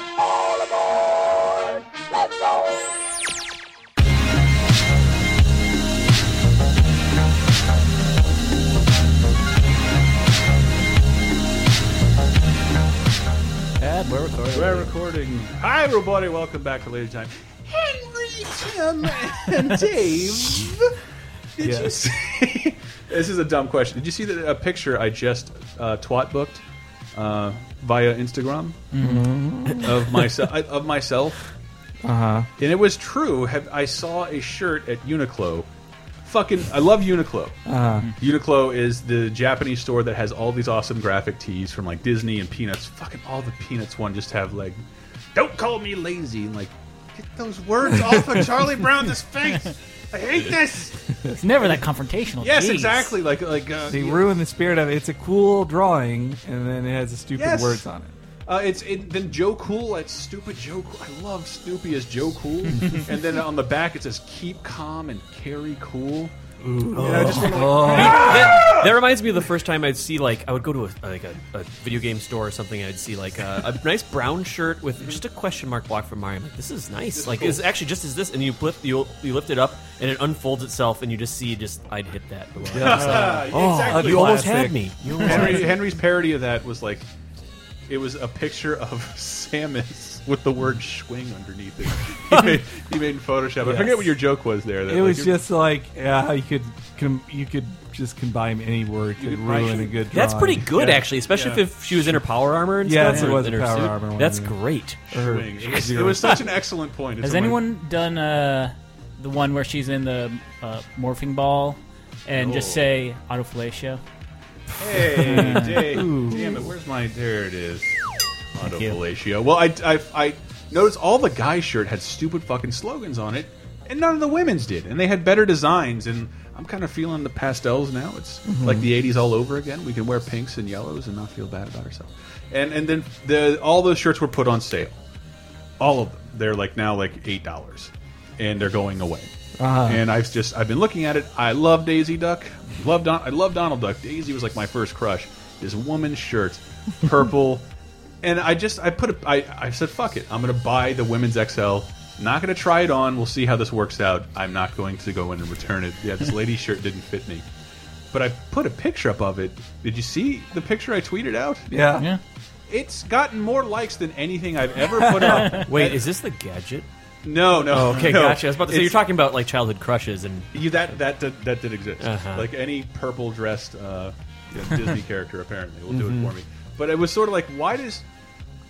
Ad, we're recording.
We're recording. Hi, everybody. Welcome back to Later Time. Henry, Tim, and Dave. Did you
Yes.
see? [laughs] this is a dumb question. Did you see the, a picture I just uh, twat booked uh, via Instagram of myself? Of myself.
Uh huh.
And it was true. Have, I saw a shirt at Uniqlo. Fucking, I love Uniqlo. Uniqlo is the Japanese store that has all these awesome graphic tees from like Disney and Peanuts. Fucking all the Peanuts one just have like, don't call me lazy and like, get those [laughs] words off of Charlie Brown's face. I hate this.
It's never that confrontational.
Yes,
Jeez.
exactly. Like like uh,
They
yeah.
ruin the spirit of it. It's a cool drawing, and then it has the stupid
Yes.
words on it.
Uh, it's it, then Joe Cool. It's stupid Joe. Cool. I love Snoopy as Joe [laughs] Cool, and then on the back it says "Keep calm and carry cool." And I just want to
that, that reminds me of the first time I'd see like I would go to a, like a, a video game store or something. and I'd see like a, a nice brown shirt with just a question mark block from Mario. I'm like, this is nice. like, it's actually just as this, and you flip, you you lift it up, and it unfolds itself, and you just see just I'd hit that. Below.
Uh, [laughs]
oh,
exactly.
you almost
Classic.
had me. You almost had
Henry,
me.
Henry's parody of that was like, It was a picture of [laughs] Samus with the word "swing" underneath it. He made, he made in Photoshop. I
Yes.
forget what your joke was there. that,
It
like,
was
you-
just like yeah, you could com- you could just combine any word to
could
ruin
probably-
a good.
That's
drawing.
pretty good,
Yeah.
actually, especially
Yeah.
if she was in her power armor and
Yes,
stuff.
it
or
was
in
a
her
power
suit.
arming one,
That's
yeah.
great.
Or
swing. It was, it
zero.
was such an excellent point.
[laughs]
It's
Has
someone-
anyone done uh, the one where she's in the uh, morphing ball and
Oh.
just say autofellatio?
Hey, Dave. Damn it, where's my. There it is. Auto
you.
fellatio. Well, I, I, I noticed all the guys' shirt had stupid fucking slogans on it, and none of the women's did. And they had better designs, and I'm kind of feeling the pastels now. It's like the 80s all over again. We can wear pinks and yellows and not feel bad about ourselves. And, and then the, all those shirts were put on sale. All of them. They're like now like $8, and they're going away. And I've just I've been looking at it. I love Daisy Duck. Love Don. I love Donald Duck. Daisy was like my first crush. This woman's shirt, purple, and I just I put a, I I said fuck it. I'm gonna buy the women's XL. Not gonna try it on. We'll see how this works out. I'm not going to go in and return it. Yeah, this lady's shirt didn't fit me. But I put a picture up of it. Did you see the picture I tweeted out?
Yeah.
Yeah.
It's gotten more likes than anything I've ever put
[laughs]
up.
Wait, is this the gadget?
No, no.
Oh,
[laughs]
Okay,
no.
gotcha. I was about to say
It's-
you're talking about like childhood crushes and
You, that that did, that did exist.
Uh-huh.
Like any purple dressed uh,
[laughs]
you know, Disney character, apparently will do
Mm-hmm.
it for me. But it was sort of like, why does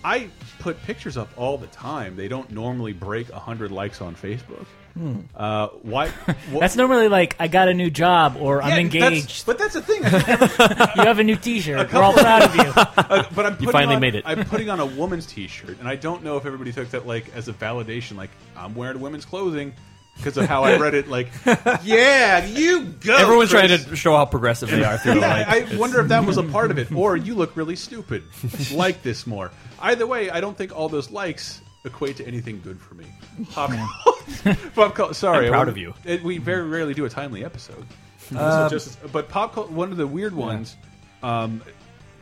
I put pictures up all the time? They don't normally break hundred likes on Facebook.
Hmm.
Uh,
[laughs]
why? wha-
That's normally like I got a new job or
Yeah,
I'm
that's-
engaged.
but that's the thing. I think
you have a new
[laughs]
T-shirt. We're all proud of you.
Uh, but I'm
[laughs]
putting
finally
on-
made it.
I'm putting on a woman's T-shirt, and I don't know if everybody took that like as a validation, like I'm wearing women's clothing because of how I read it.
[laughs]
Like, yeah, you go.
everyone's
Chris.
trying to show how progressive they are [laughs] through
Yeah,
like
I wonder if that was a part
[laughs]
of it, or you look really stupid. like this more. Either way, I don't think all those likes equate to anything good for me. Pop, [laughs] pop cul- Sorry,
I'm proud
I-
of you.
It, we very rarely do a timely episode. This
Um,
Uh,
is just, but pop cul- one of the weird ones. Um,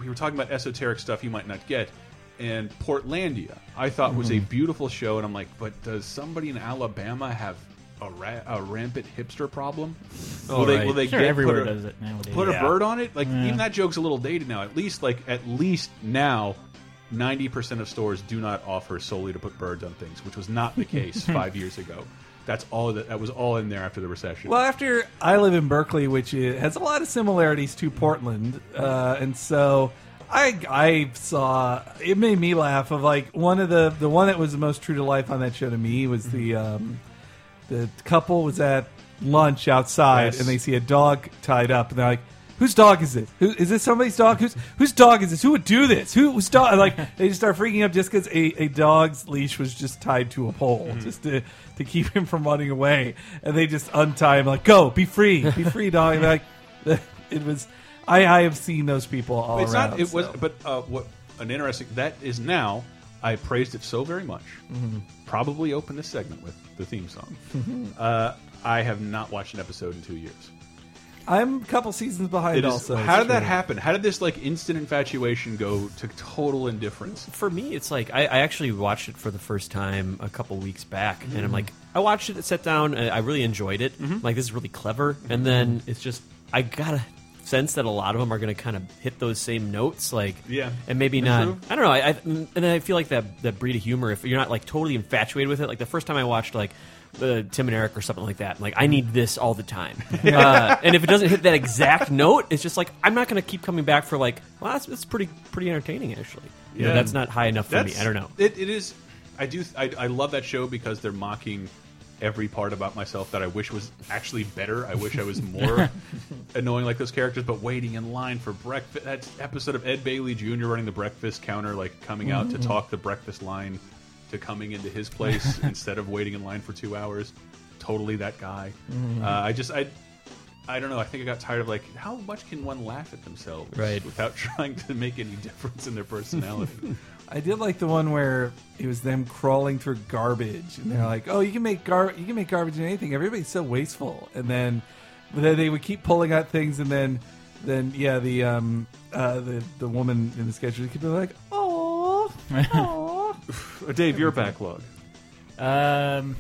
we were talking about esoteric stuff you might not get, and Portlandia I thought was a
Mm-hmm.
beautiful show, and I'm like, but does somebody in Alabama have? A, ra a rampant hipster problem? will they,
right.
will they
Oh, Sure,
get
everywhere
put a-
does it nowadays.
put
Yeah.
a bird on it. Like even that joke's a little dated now. At least like at least now, ninety percent of stores do not offer solely to put birds on things, which was not
[laughs]
the case five years ago. That's all that that was all in there after the recession.
Well, after I live in Berkeley, which i has a lot of similarities to Portland, uh, and so I I saw it made me laugh. Of like one of the the one that was the most true to life on that show to me was the um, the couple was at lunch outside
Yes.
and they see a dog tied up and they're like. Whose dog is this? Who is this? Somebody's dog? Whose whose dog is this? Who would do this? Who whose dog?
[laughs]
Like they just start freaking up just because a, a dog's leash was just tied to a pole,
Mm-hmm.
just to to keep him from running away. And they just untie him, like go, be free, be
[laughs]
free, dog. And like [laughs] it was, I I have seen those people all
it's
around.
not. It was.
so.
But uh, what an interesting that is now. I praised it so very much.
Mm-hmm.
Probably open this segment with the theme song. uh, I have not watched an episode in two years.
I'm a couple seasons behind.
It is-
also,
how
it's
did that
true.
happen? How did this like instant infatuation go to total indifference?
for me, it's like I, I actually watched it for the first time a couple weeks back, and I'm
Mm.
like, I watched it, sat down, and I really enjoyed it.
Mm-hmm.
I'm Like this is really clever, and then it's just I got a sense that a lot of them are going to kind of hit those same notes, like
Yeah.
and maybe
That's
not.
true.
I don't know. I, I and then I feel like that that breed of humor. If you're not like totally infatuated with it, like the first time I watched like. Uh, Tim and Eric, or something like that. Like, I need this all the time, uh, and if it doesn't hit that exact note, it's just like I'm not going to keep coming back for like. Well, that's, that's pretty pretty entertaining, actually. You know,
Yeah.
that's not high enough for me. I don't know.
It, it is. I do. I, I love that show because they're mocking every part about myself that I wish was actually better. I wish I
[laughs]
was more annoying like those characters. But waiting in line for breakfast. That episode of Ed Bailey Jr. running the breakfast counter, like coming out
Mm-hmm.
to talk the breakfast line to coming into his
[laughs]
place instead of waiting in line for two hours. Totally that guy.
Mm-hmm.
Uh, I just I. I don't know. I think I got tired of like how much can one laugh at themselves
Right.
without [laughs] trying to make any difference in their personality.
I did like the one where it was them crawling through garbage, and they're like, "Oh, you can make gar you can make garbage in anything. Everybody's so wasteful." And then, but then they would keep pulling out things, and then, then yeah, the um uh, the the woman in the sketch would keep being like,
[laughs]
"Oh, oh."
Dave, your backlog.
Um,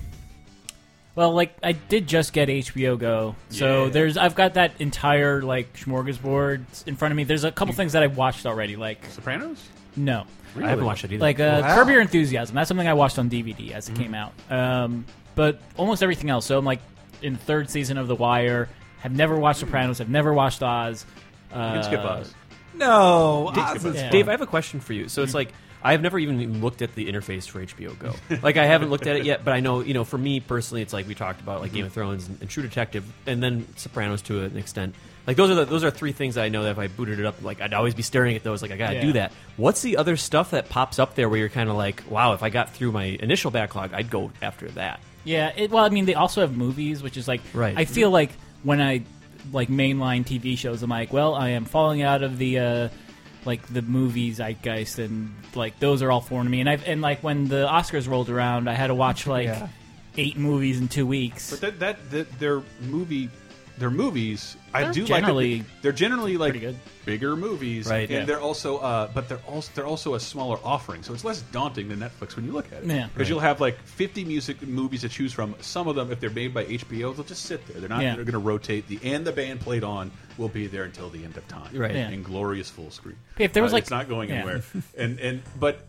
well, like I did just get HBO Go, so
Yeah.
there's I've got that entire like smorgasbord in front of me. There's a couple things that I've watched already, like
Sopranos?
No.
I haven't watched it either.
Like uh,
Wow.
Curb Your Enthusiasm. That's something I watched on DVD as it came out. Um, but almost everything else. So I'm like in third season of The Wire. Have never watched Sopranos. Have never watched Oz. Uh,
You can skip Oz.
No, Oz is
Yeah.
Dave, I have a question for you. So it's like I've never even looked at the interface for HBO Go. Like I haven't looked at it yet, but I know you know for me personally, it's like we talked about like Game of Thrones and, and True Detective, and then Sopranos to an extent. Like those are the, those are three things that I know that if I booted it up, like I'd always be staring at those. Like I gotta
Yeah.
do that. What's the other stuff that pops up there where you're kind of like, wow, if I got through my initial backlog, I'd go after that.
Yeah, it, well, I mean, they also have movies, which is like,
Right.
I feel like when I like mainline TV shows, I'm like, well, I am falling out of the uh, like the movie zeitgeist, and like those are all foreign to me. And I've and like when the Oscars rolled around, I had to watch like
Yeah.
eight movies in two weeks.
But that, that that their movie, their movies, I
They're
do
generally
like. that They're generally like
pretty good.
bigger movies,
Right,
And
yeah.
they're also, uh, but they're also they're also a smaller offering, so it's less daunting than Netflix when you look at it.
Yeah.
because you'll have like fifty music movies to choose from. Some of them, if they're made by HBO, they'll just sit there. They're not.
Yeah.
They're going to rotate. The and the band played on will be there until the end of time.
Right.
Yeah.
in glorious full screen.
If there was,
Uh,
like-
it's not going
yeah.
anywhere. and and but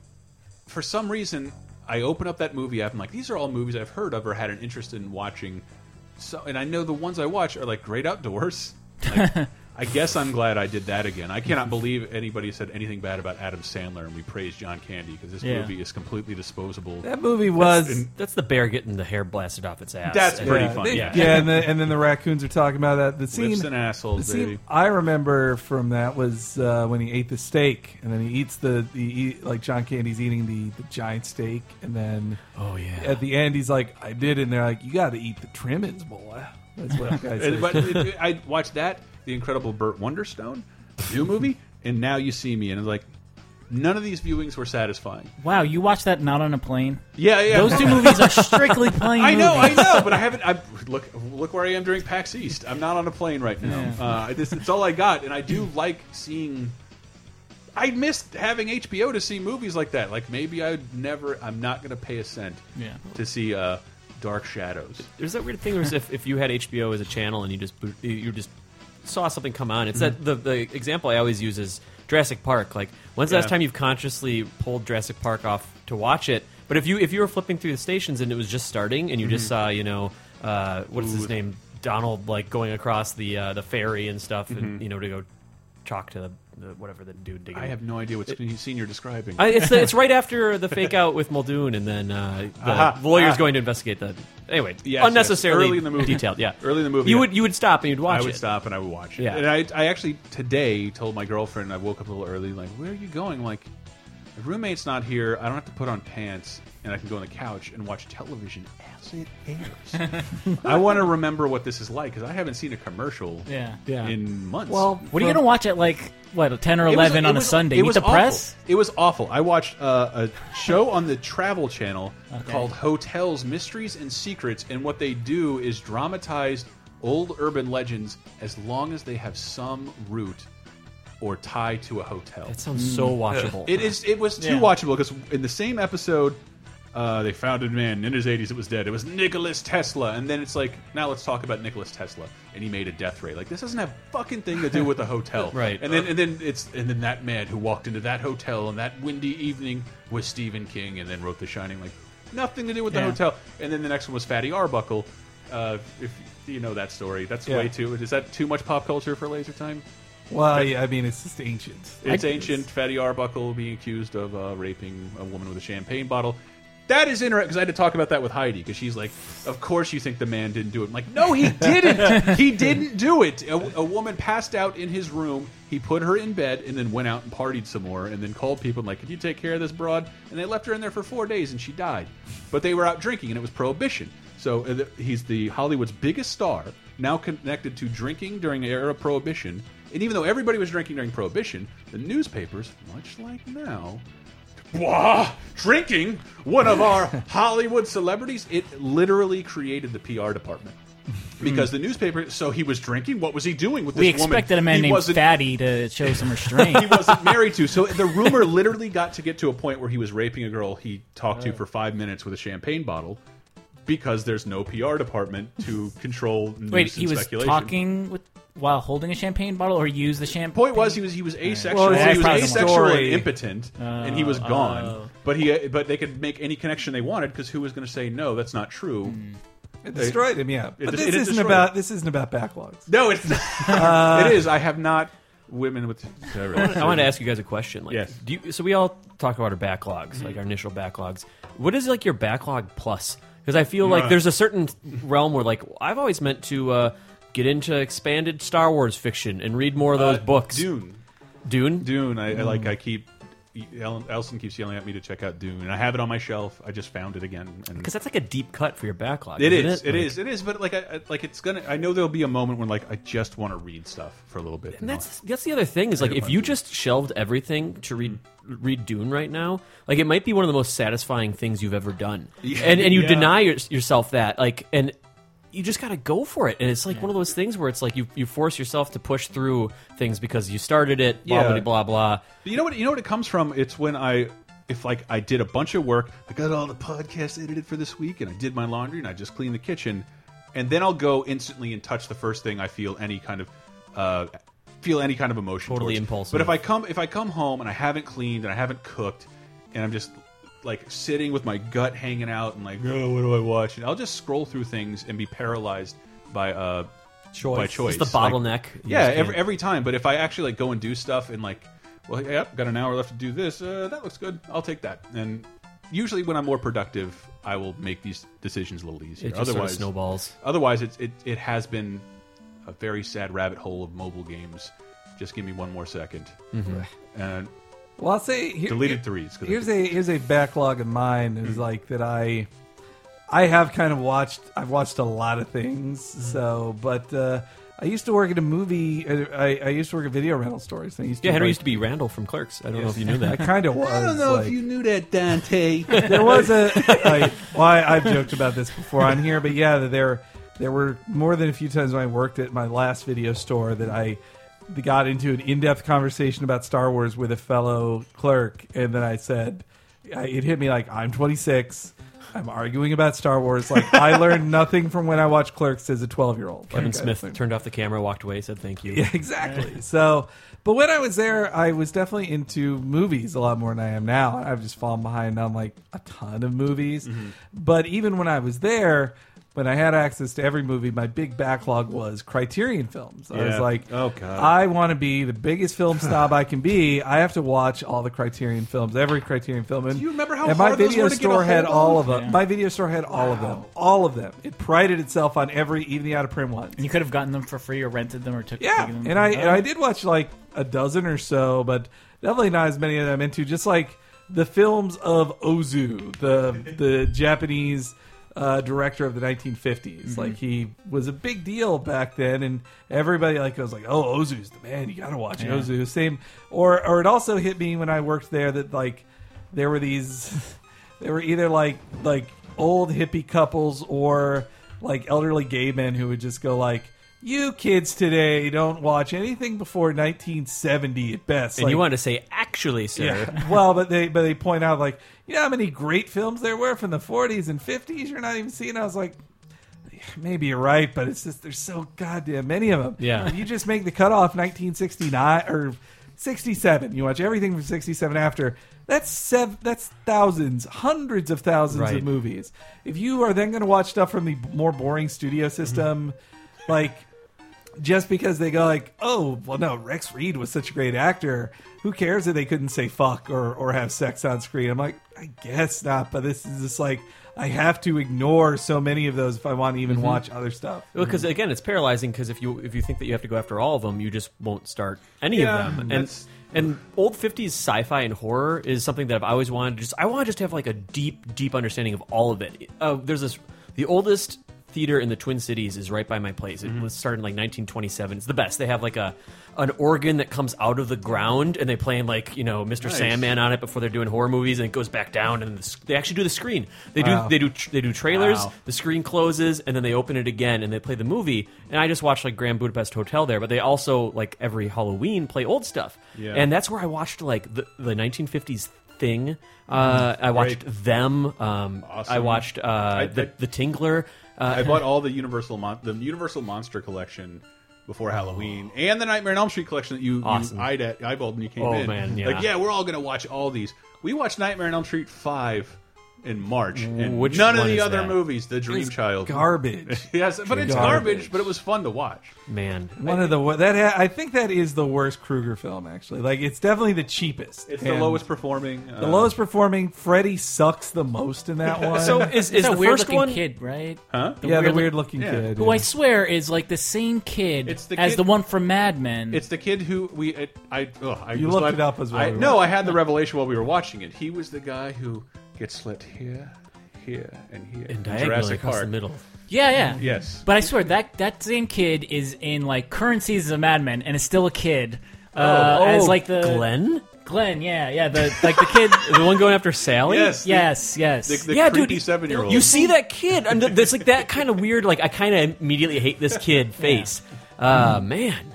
for some reason, I open up that movie app. I'm like, these are all movies I've heard of or had an interest in watching. So, and I know the ones I watch are like Great Outdoors. Like, I guess I'm glad I did that again. I cannot believe anybody said anything bad about Adam Sandler, and we praised John Candy because this
Yeah.
movie is completely disposable.
That movie was.
That's the bear getting the hair blasted off its ass.
That's
And-
pretty
yeah,
fun,
they-
yeah.
and, the, and then the raccoons are talking about that. The scene,
and assholes,
the scene
baby.
I remember from that was uh, when he ate the steak, and then he eats the, the he- like John Candy's eating the, the giant steak, and then
Oh yeah.
at the end he's like, "I did," and they're like, "You got to eat the trimmings, boy." That's what
[laughs]
guys
And-
say.
but it- it- I watched that, The Incredible Burt Wonderstone, new movie, and Now You See Me, and it's like none of these viewings were satisfying.
wow, you watched that not on a plane?
Yeah, yeah.
Those two movies are strictly
[laughs]
plane.
I know, I
movies.
know, but I haven't. I look, look where I am during PAX East. I'm not on a plane right now. Uh, this, it's all I got, and I do like seeing. I missed having HBO to see movies like that. Like maybe I'd never. I'm not going to pay a cent
Yeah.
to see uh, Dark Shadows.
There's that weird thing where if, if you had HBO as a channel and you just boot- you just saw something come on, it's
Mm-hmm.
that the, the example I always use is Jurassic Park. Like, when's the
Yeah.
last time you've consciously pulled Jurassic Park off to watch it? But if you if you were flipping through the stations and it was just starting and you
Mm-hmm.
just saw you know uh, what's his name Donald like going across the uh, the ferry and stuff and you know to go talk to the, the whatever the dude digging.
Mm-hmm. I have no idea what scene you're describing.
I, it's, the, it's right after the fake out with Muldoon, and then uh, the
Aha,
lawyer's
ah.
going to investigate the. Anyway,
Yes,
unnecessarily
yes. Early in the movie.
detailed. Yeah,
Early in the movie,
you
yeah.
would you would stop and you'd watch
I would
it.
stop and I would watch it.
Yeah.
And I, I actually today told my girlfriend I woke up a little early, like, where are you going? Like, the roommate's not here. I don't have to put on pants, and I can go on the couch and watch television as it
[laughs]
airs. I want to remember what this is like because I haven't seen a commercial
Yeah.
Yeah.
in months.
well,
What are you
from-
gonna watch at like what ten or
It was-
eleven
it
on
was-
a Sunday?
It
Meet
was
the
awful.
press.
It was awful. I watched
[laughs]
uh, a show on the Travel Channel called Hotels, Mysteries, and Secrets, and what they do is dramatize old urban legends as long as they have some root or tie to a hotel.
That sounds so
Mm.
watchable.
It is. It was too
Yeah.
watchable because in the same episode, uh, they found a man in his 80s. It was dead. It was Nicholas Tesla, and then it's like, now let's talk about Nicholas Tesla, and he made a death ray. Like this doesn't have fucking thing to do with a hotel,
Right.
And then and then it's and then that man who walked into that hotel on that windy evening was Stephen King, and then wrote The Shining. Like nothing to do with the
Yeah.
hotel. And then the next one was Fatty Arbuckle. Uh, if you know that story, that's
Yeah.
way too. Is that too much pop culture for Laser Time?
well, yeah, I mean, it's just ancient.
It's ancient. Fatty Arbuckle being accused of uh, raping a woman with a champagne bottle. That is interesting because I had to talk about that with Heidi because she's like, "Of course you think the man didn't do it." I'm like, "No, he didn't. he didn't do it. A, a woman passed out in his room. He put her in bed and then went out and partied some more and then called people and like, "Could you take care of this broad?" And they left her in there for four days and she died. But they were out drinking and it was prohibition. So uh, th- he's the Hollywood's biggest star, now connected to drinking during the era of Prohibition. And even though everybody was drinking during Prohibition, the newspapers, much like now, Wah! Drinking one of
[laughs]
our Hollywood celebrities? It literally created the PR department. Because the newspaper, so he was drinking. What was he doing with this
Hmm. We
woman?
expected a man
he
named
wasn't,
Fatty to
[laughs]
show some restraint.
He wasn't married to. So the rumor literally got to get to a point where he was raping a girl he talked to for five minutes with a champagne bottle. because there's no PR department to control news
Wait, he
and
was
speculation.
talking with while holding a champagne bottle, or used the champagne.
Point was he was he was asexual.
Well, it's
he was
probably the
asexual and
story.
impotent, and he was gone. But he but they could make any connection they wanted because who was going to say no? That's not true.
It destroyed him, yeah.
des-
But this
it
isn't
destroyed
about
him.
this isn't about backlogs.
No, it's not. it is. I have not women with.
I want to ask you guys a question. Like,
Yes.
Do you, so we all talk about our backlogs, like our initial backlogs. What is like your backlog plus? Because I feel like
Right.
there's a certain realm where, like, I've always meant to uh, get into expanded Star Wars fiction and read more of those books.
Uh, Dune.
Dune?
Dune. I, I
Mm.
like. I keep. Ellen, Elson keeps yelling at me to check out Dune, and I have it on my shelf. I just found it again. And
Because that's like a deep cut for your backlog.
It
isn't
is.
It
It is. It is. But like, I, I- like it's gonna. I know there'll be a moment when like I just want to read stuff for a little bit.
And that's that's the other thing is like if you just shelved everything to read read Dune right now, like it might be one of the most satisfying things you've ever done. And and you
Yeah.
deny your, yourself that like and you just got to go for it. And it's like one of those things where it's like you you force yourself to push through things because you started it, blah
Yeah.
blah blah blah.
But you know what? You know what it comes from. It's when I, if like I did a bunch of work, I got all the podcasts edited for this week, and I did my laundry, and I just cleaned the kitchen, and then I'll go instantly and touch the first thing I feel any kind of, uh, feel any kind of emotion.
Totally
towards.
impulsive.
But if I come, if I come home and I haven't cleaned and I haven't cooked, and I'm just like sitting with my gut hanging out and like, oh, what do I watch? And I'll just scroll through things and be paralyzed by uh,
Choice.
by choice.
It's the
Like,
bottleneck. You
yeah,
just
every,
can't-
every time. But if I actually like go and do stuff and like, well, yep, got an hour left to do this. Uh, that looks good. I'll take that. And usually, when I'm more productive, I will make these decisions a little easier.
it just sort of
otherwise,
snowballs.
otherwise, it's it it has been a very sad rabbit hole of mobile games. Just give me one more 2nd
Mm-hmm.
and
Well, I'll say here,
deleted threes. 'cause I
Here's
did-
a here's a backlog of mine
Mm-hmm.
is like that I I have kind of watched I've watched a lot of things
Mm-hmm.
so but uh, I used to work at a movie uh, I, I used to work at video rental stores and I used to
Yeah, Henry
like-
used to be Randall from Clerks. I don't know if you knew
I
that.
kind of was
[laughs] I don't know
like-
if you knew that,
[laughs]
Dante.
[laughs]
there was a like, well, I, I've joked about this before on here, but yeah, there there were more than a few times when I worked at my last video store that I got into an in-depth conversation about Star Wars with a fellow clerk, and then I said, I, it hit me like I'm 26. I'm arguing about Star Wars. Like I learned [laughs] nothing from when I watched Clerks as a 12 year old.
Kevin Smith turned off the camera, walked away, said thank you.
Yeah, [laughs] exactly. So, but when I was there, I was definitely into movies a lot more than I am now. I've just fallen behind on like a ton of movies.
Mm-hmm.
But even when I was there, when I had access to every movie, my big backlog was Criterion films. I was
Yeah.
like,
Oh, God.
I want to be the biggest film snob I can be. I have to watch all the Criterion films, every Criterion film. And,
Do you remember how
and my
hard those
video
were to get a
store had
hold
all of
of?
them.
Yeah.
My video store had all of them, all of them. It prided itself on every, even the out of print ones.
And you could have gotten them for free, or rented them, or took.
Yeah,
taken them
and I
Oh.
and I did watch like a dozen or so, but definitely not as many as I'm into. Just like the films of Ozu,
[laughs]
the the Japanese uh, director of the 1950s.
Mm-hmm.
Like he was a big deal back then, and everybody like was like, "Oh, Ozu's the man. You got to watch Ozu." Same, or or it also hit me when I worked there that like there were these [laughs] they were either like like old hippie couples or like elderly gay men who would just go like you kids today don't watch anything before 1970 at best
And
like,
you wanted to say, actually, sir.
yeah. well but they but they point out like you know how many great films there were from the 40s and 50s you're not even seeing i was like maybe you're right but it's just there's so goddamn many of them
Yeah.
if you just make the cutoff 1969 or 67 you watch everything from 67 after that's sev- that's thousands hundreds of thousands
Right.
of movies if you are then going to watch stuff from the more boring studio
Mm-hmm.
system like just because they go like oh well no rex reed was such a great actor who cares that they couldn't say fuck or, or have sex on screen i'm like i guess not but this is just like i have to ignore so many of those if i want to
Mm-hmm.
even watch other stuff
Well, because again, it's paralyzing. Because if you if you think that you have to go after all of them, you just won't start any
Yeah,
of them. And
that's-
and old fifties sci-fi and horror is something that I've always wanted. to Just I want to just have like a deep, deep understanding of all of it. Uh, there's this the oldest theater in the Twin Cities is right by my place. It
Mm-hmm.
was started in like 1927. It's the best. They have like a an organ that comes out of the ground and they play in like you know Mr. Sandman on it before they're doing horror movies and it goes back down and the, s- they actually do the screen. They do they do tr- they do trailers.
Wow.
The screen closes and then they open it again and they play the movie. And I just watched like Grand Budapest Hotel there, but they also like every Halloween play old stuff.
Yeah.
And that's where I watched like the, the 1950s Thing. Uh, I watched
Mm-hmm. Great.
them. Um, I
Awesome.
watched uh,
I- I-
the, the Tingler. Uh,
I bought all the Universal Mon the Universal Monster collection before Halloween and the Nightmare on Elm Street collection that you,
Awesome.
you eyed at, eyeballed when you came
Oh,
in.
man, yeah.
Like, yeah, we're all gonna watch all these. We watched Nightmare on Elm Street five in March, and
Which
none of
one
the
is
other
that?
movies. The Dream Child,
Garbage.
[laughs] yes, but it's
Garbage.
garbage. But it was fun to watch.
man,
One of the wor- that ha- I think that is the worst Krueger film actually. Like it's definitely the cheapest.
It's the
And
lowest performing. uh,
The lowest performing. Freddy sucks the most
[laughs]
in that
[laughs]
one.
so is, is
It's
the
a weird
first
looking
one?
kid, right?
Huh?
yeah, the
weird-look-
weird looking
yeah.
kid.
Who I
yeah.
swear is like the same kid
It's the
as
kid-
the one from Mad Men.
It's the kid who we it, I, ugh, I
You
was
looked
glad-
it up as well.
I, no, I had the revelation while we were watching it. He was the guy who gets slit here, here, and here. in
And diagonally
Jurassic
across
Park.
the middle.
yeah, yeah.
Yes.
But I swear that that same kid is in like current seasons of Mad Men and is still a kid. Uh, as like the
Oh, Glenn,
Glenn, yeah, yeah, the like the kid.
the one going after
[laughs]
Sally.
yes.
[laughs] yes, yes.
The, the
Yeah, dude,
creepy seven year old.
You see that kid? And th- it's like that kind of weird. Like I kind of immediately hate this kid face. Uh, man,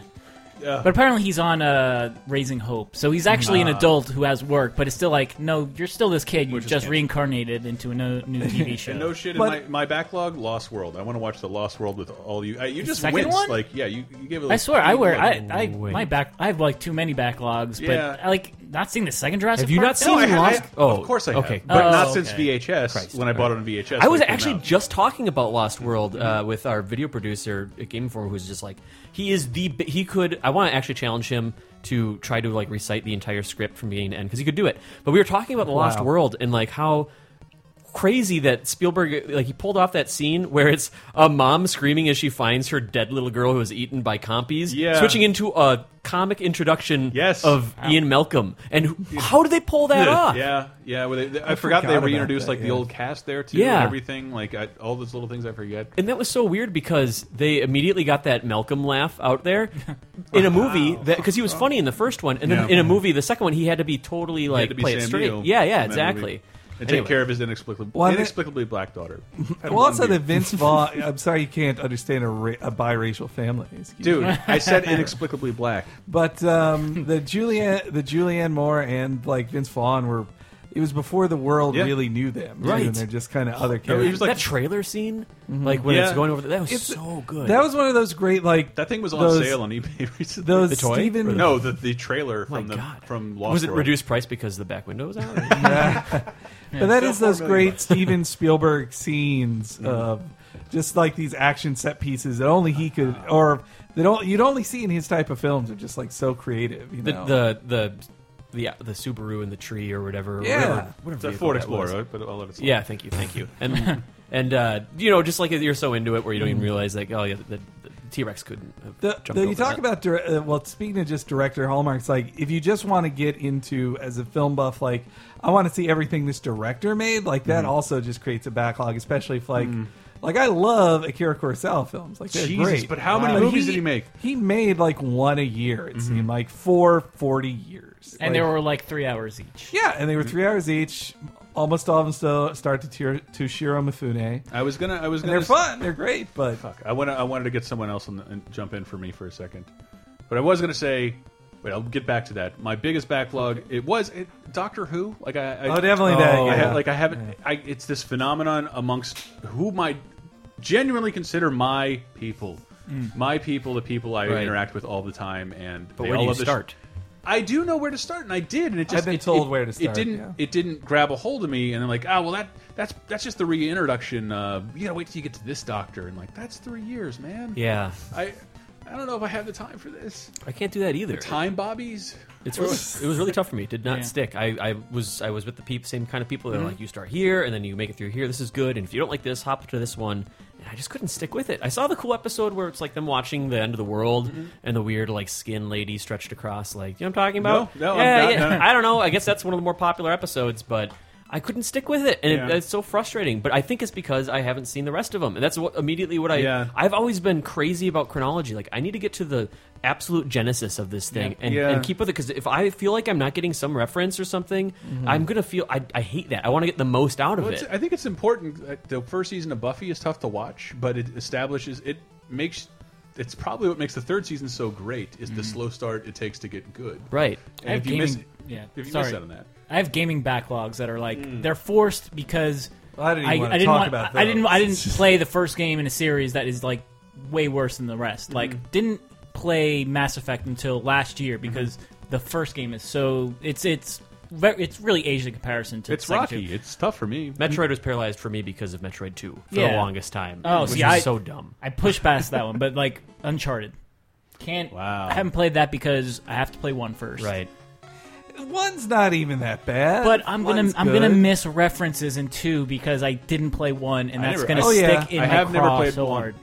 but apparently he's on uh, Raising Hope, so he's actually an adult who has work, but it's still like, no, you're still this kid. You
Which is
just
canceled.
reincarnated into a no,
[laughs]
new TV show.
And no shit.
But-
in my, my backlog, Lost World. I want to watch the Lost World with all you. I, you just
second
winced.
one?
Like, yeah, you, you gave it.
I swear, I wear I, I
Wait.
my back. I have like too many backlogs,
Yeah.
but I, like not seeing the second Jurassic.
Have you
Park
not
film?
No, I
Even
have,
Lost-
I-
Oh,
of course I have,
okay.
but
Oh,
not since
okay.
VHS
Christ.
when I bought it on VHS.
I was
when it came
actually
out.
just talking about Lost World uh, with our video producer at Game Informer, who's just like he is the bi- he could. I want to actually challenge him to try to like recite the entire script from beginning to end because he could do it. But we were talking about the Lost
Wow.
World and like how crazy that Spielberg like he pulled off that scene where it's a mom screaming as she finds her dead little girl who was eaten by compies,
Yeah.
switching into a comic introduction
Yes.
of Ian Malcolm. And who- how did they pull that
[laughs]
off?
Yeah, yeah. Well, they, they- I, forgot,
forgot
they
about
reintroduced
that,
like the
yeah.
old cast there too.
Yeah.
and everything like I, all those little things I forget.
And that was so weird because they immediately got that Malcolm laugh out
[laughs]
there in a movie that because he was funny in the first one, and then
Yeah.
in a movie the second one he had to be totally
He
like
had to be
play it
Sam
straight.
Neill
Yeah, yeah,
in that movie.
exactly.
And
Anyway.
take care of his inexplicably
Well, I think-
inexplicably black daughter.
well, also the
[laughs]
Vince Vaughn. I'm sorry you can't understand a, ra- a biracial family. Excuse
Dude, I said inexplicably black.
But
[laughs]
um, the Julianne, the Julianne Moore, and like Vince Vaughn were. It was before the world
Yeah.
really knew them, too,
Right.
And they're just kind of other
No,
characters.
he was like Mm-hmm.
that trailer scene, like when it's
Yeah.
going over, the, that was
It's-
so good.
That was one of those great like
that thing was on
those-
sale on eBay [laughs] recently.
Those
The toy?
Steven
Or
[laughs]
no, the, the trailer
my
from the
god.
from Lost
was it
World.
reduced price because the back window
[laughs]
was out?
But that is
Still Mm-hmm.
those
four million
great Steven Spielberg scenes of just like these action set pieces that only he could, or that all, you'd only see in his type of films are just like so creative. You
the,
know,
the the the the Subaru in the tree or whatever. or
Yeah.
whatever, whatever
The
vehicle
Ford
that was.
Explorer, but all of its
Yeah, thank you, thank you.
[laughs]
And and uh, you know, just like you're so into it where you don't
Mm-hmm.
even realize like, oh yeah, the, the T Rex couldn't. Have
The,
jumped
the,
over
you talk
that.
about dire- uh, well, speaking of just director hallmarks, like if you just want to get into as a film buff, like I want to see everything this director made, like that
Mm-hmm.
also just creates a backlog, especially if like. Like I love Akira Kurosawa films. Like they're
Jesus,
great.
but how many
But
movies did he make? Mm-hmm.
He made like one a year. It seemed like for forty years. Like-
And there were like three hours each.
yeah, and they were three hours each. Almost all of them still start to tier, to Shiro Mifune.
I was gonna. I was
And
gonna.
they're fun. They're great, but
Fuck. I want. I wanted to get someone else and and jump in for me for a second, but I was gonna say. Wait, I'll get back to that. My biggest backlog. It was it, Doctor Who. Like I. I
oh, definitely that.
Oh,
I
yeah.
have, like I haven't. I, it's this phenomenon amongst who my genuinely consider my people,
Mm.
my people, the people I
Right.
interact with all the time, and
But
they
where
all
do you
love this-
start?
I do know where to start, and I did, and it just
I've been
it-
told
it-
where to
It
start,
didn't.
yeah.
It didn't grab a hold of me, and I'm like, oh well, that that's that's just the reintroduction. Uh, you gotta wait till you get to this doctor, and like that's three years, man.
Yeah,
I I don't know if I have the time for this.
I can't do that either.
Time bobbies.
It's really, it was really tough for me. It did not stick. I, I was I was with the peep, same kind of people. They're
Mm-hmm.
like, you start here, and then you make it through here. This is good, and if you don't like this, hop to this one. And I just couldn't stick with it. I saw the cool episode where it's like them watching the end of the world
Mm-hmm.
and the weird like skin lady stretched across. Like, you know what I'm talking about?
No, no, I'm
yeah,
not-
yeah.
no, no.
I don't know. I guess that's one of the more popular episodes, but. I couldn't stick with it, and it,
Yeah.
it's so frustrating. But I think it's because I haven't seen the rest of them, and that's what, immediately what I.
Yeah.
I've always been crazy about chronology. Like, I need to get to the absolute genesis of this thing, and,
Yeah.
and keep with it because if I feel like I'm not getting some reference or something,
Mm-hmm.
I'm gonna feel I, I hate that. I want to get the most out of
Well,
it.
it's- I think it's important. that The first season of Buffy is tough to watch, but it establishes it makes. It's probably what makes the third season
Mm-hmm.
so great is the slow start it takes to get good.
right.
And
I
if
have
you miss,
gaming- yeah,
if you miss
sorry.
out on that,
I have gaming backlogs that are like
Hmm.
they're forced because
Well, I didn't even
I,
want to
I didn't
talk
want,
about
I didn't I
those.
didn't play the first game in a series that is like way worse than the rest.
Hmm.
Like didn't play Mass Effect until last year because the first game is so it's it's ve- it's really aged in comparison to the
It's
second
rocky.
two.
It's tough for me.
Metroid was paralyzed for me because of Metroid Two for the
Mm-hmm. Yeah.
longest time.
Oh,
which
see,
is
I-
so dumb.
I pushed past that one, but like Uncharted. Can't
Wow.
I haven't played that because I have to play one first.
Right.
One's not even that bad.
But I'm gonna
One's
I'm gonna
good.
miss references in two because I didn't play one, and
I
that's
never-
gonna
Oh,
yeah.
stick in
I
my
have
craw
never played
so
one.
hard.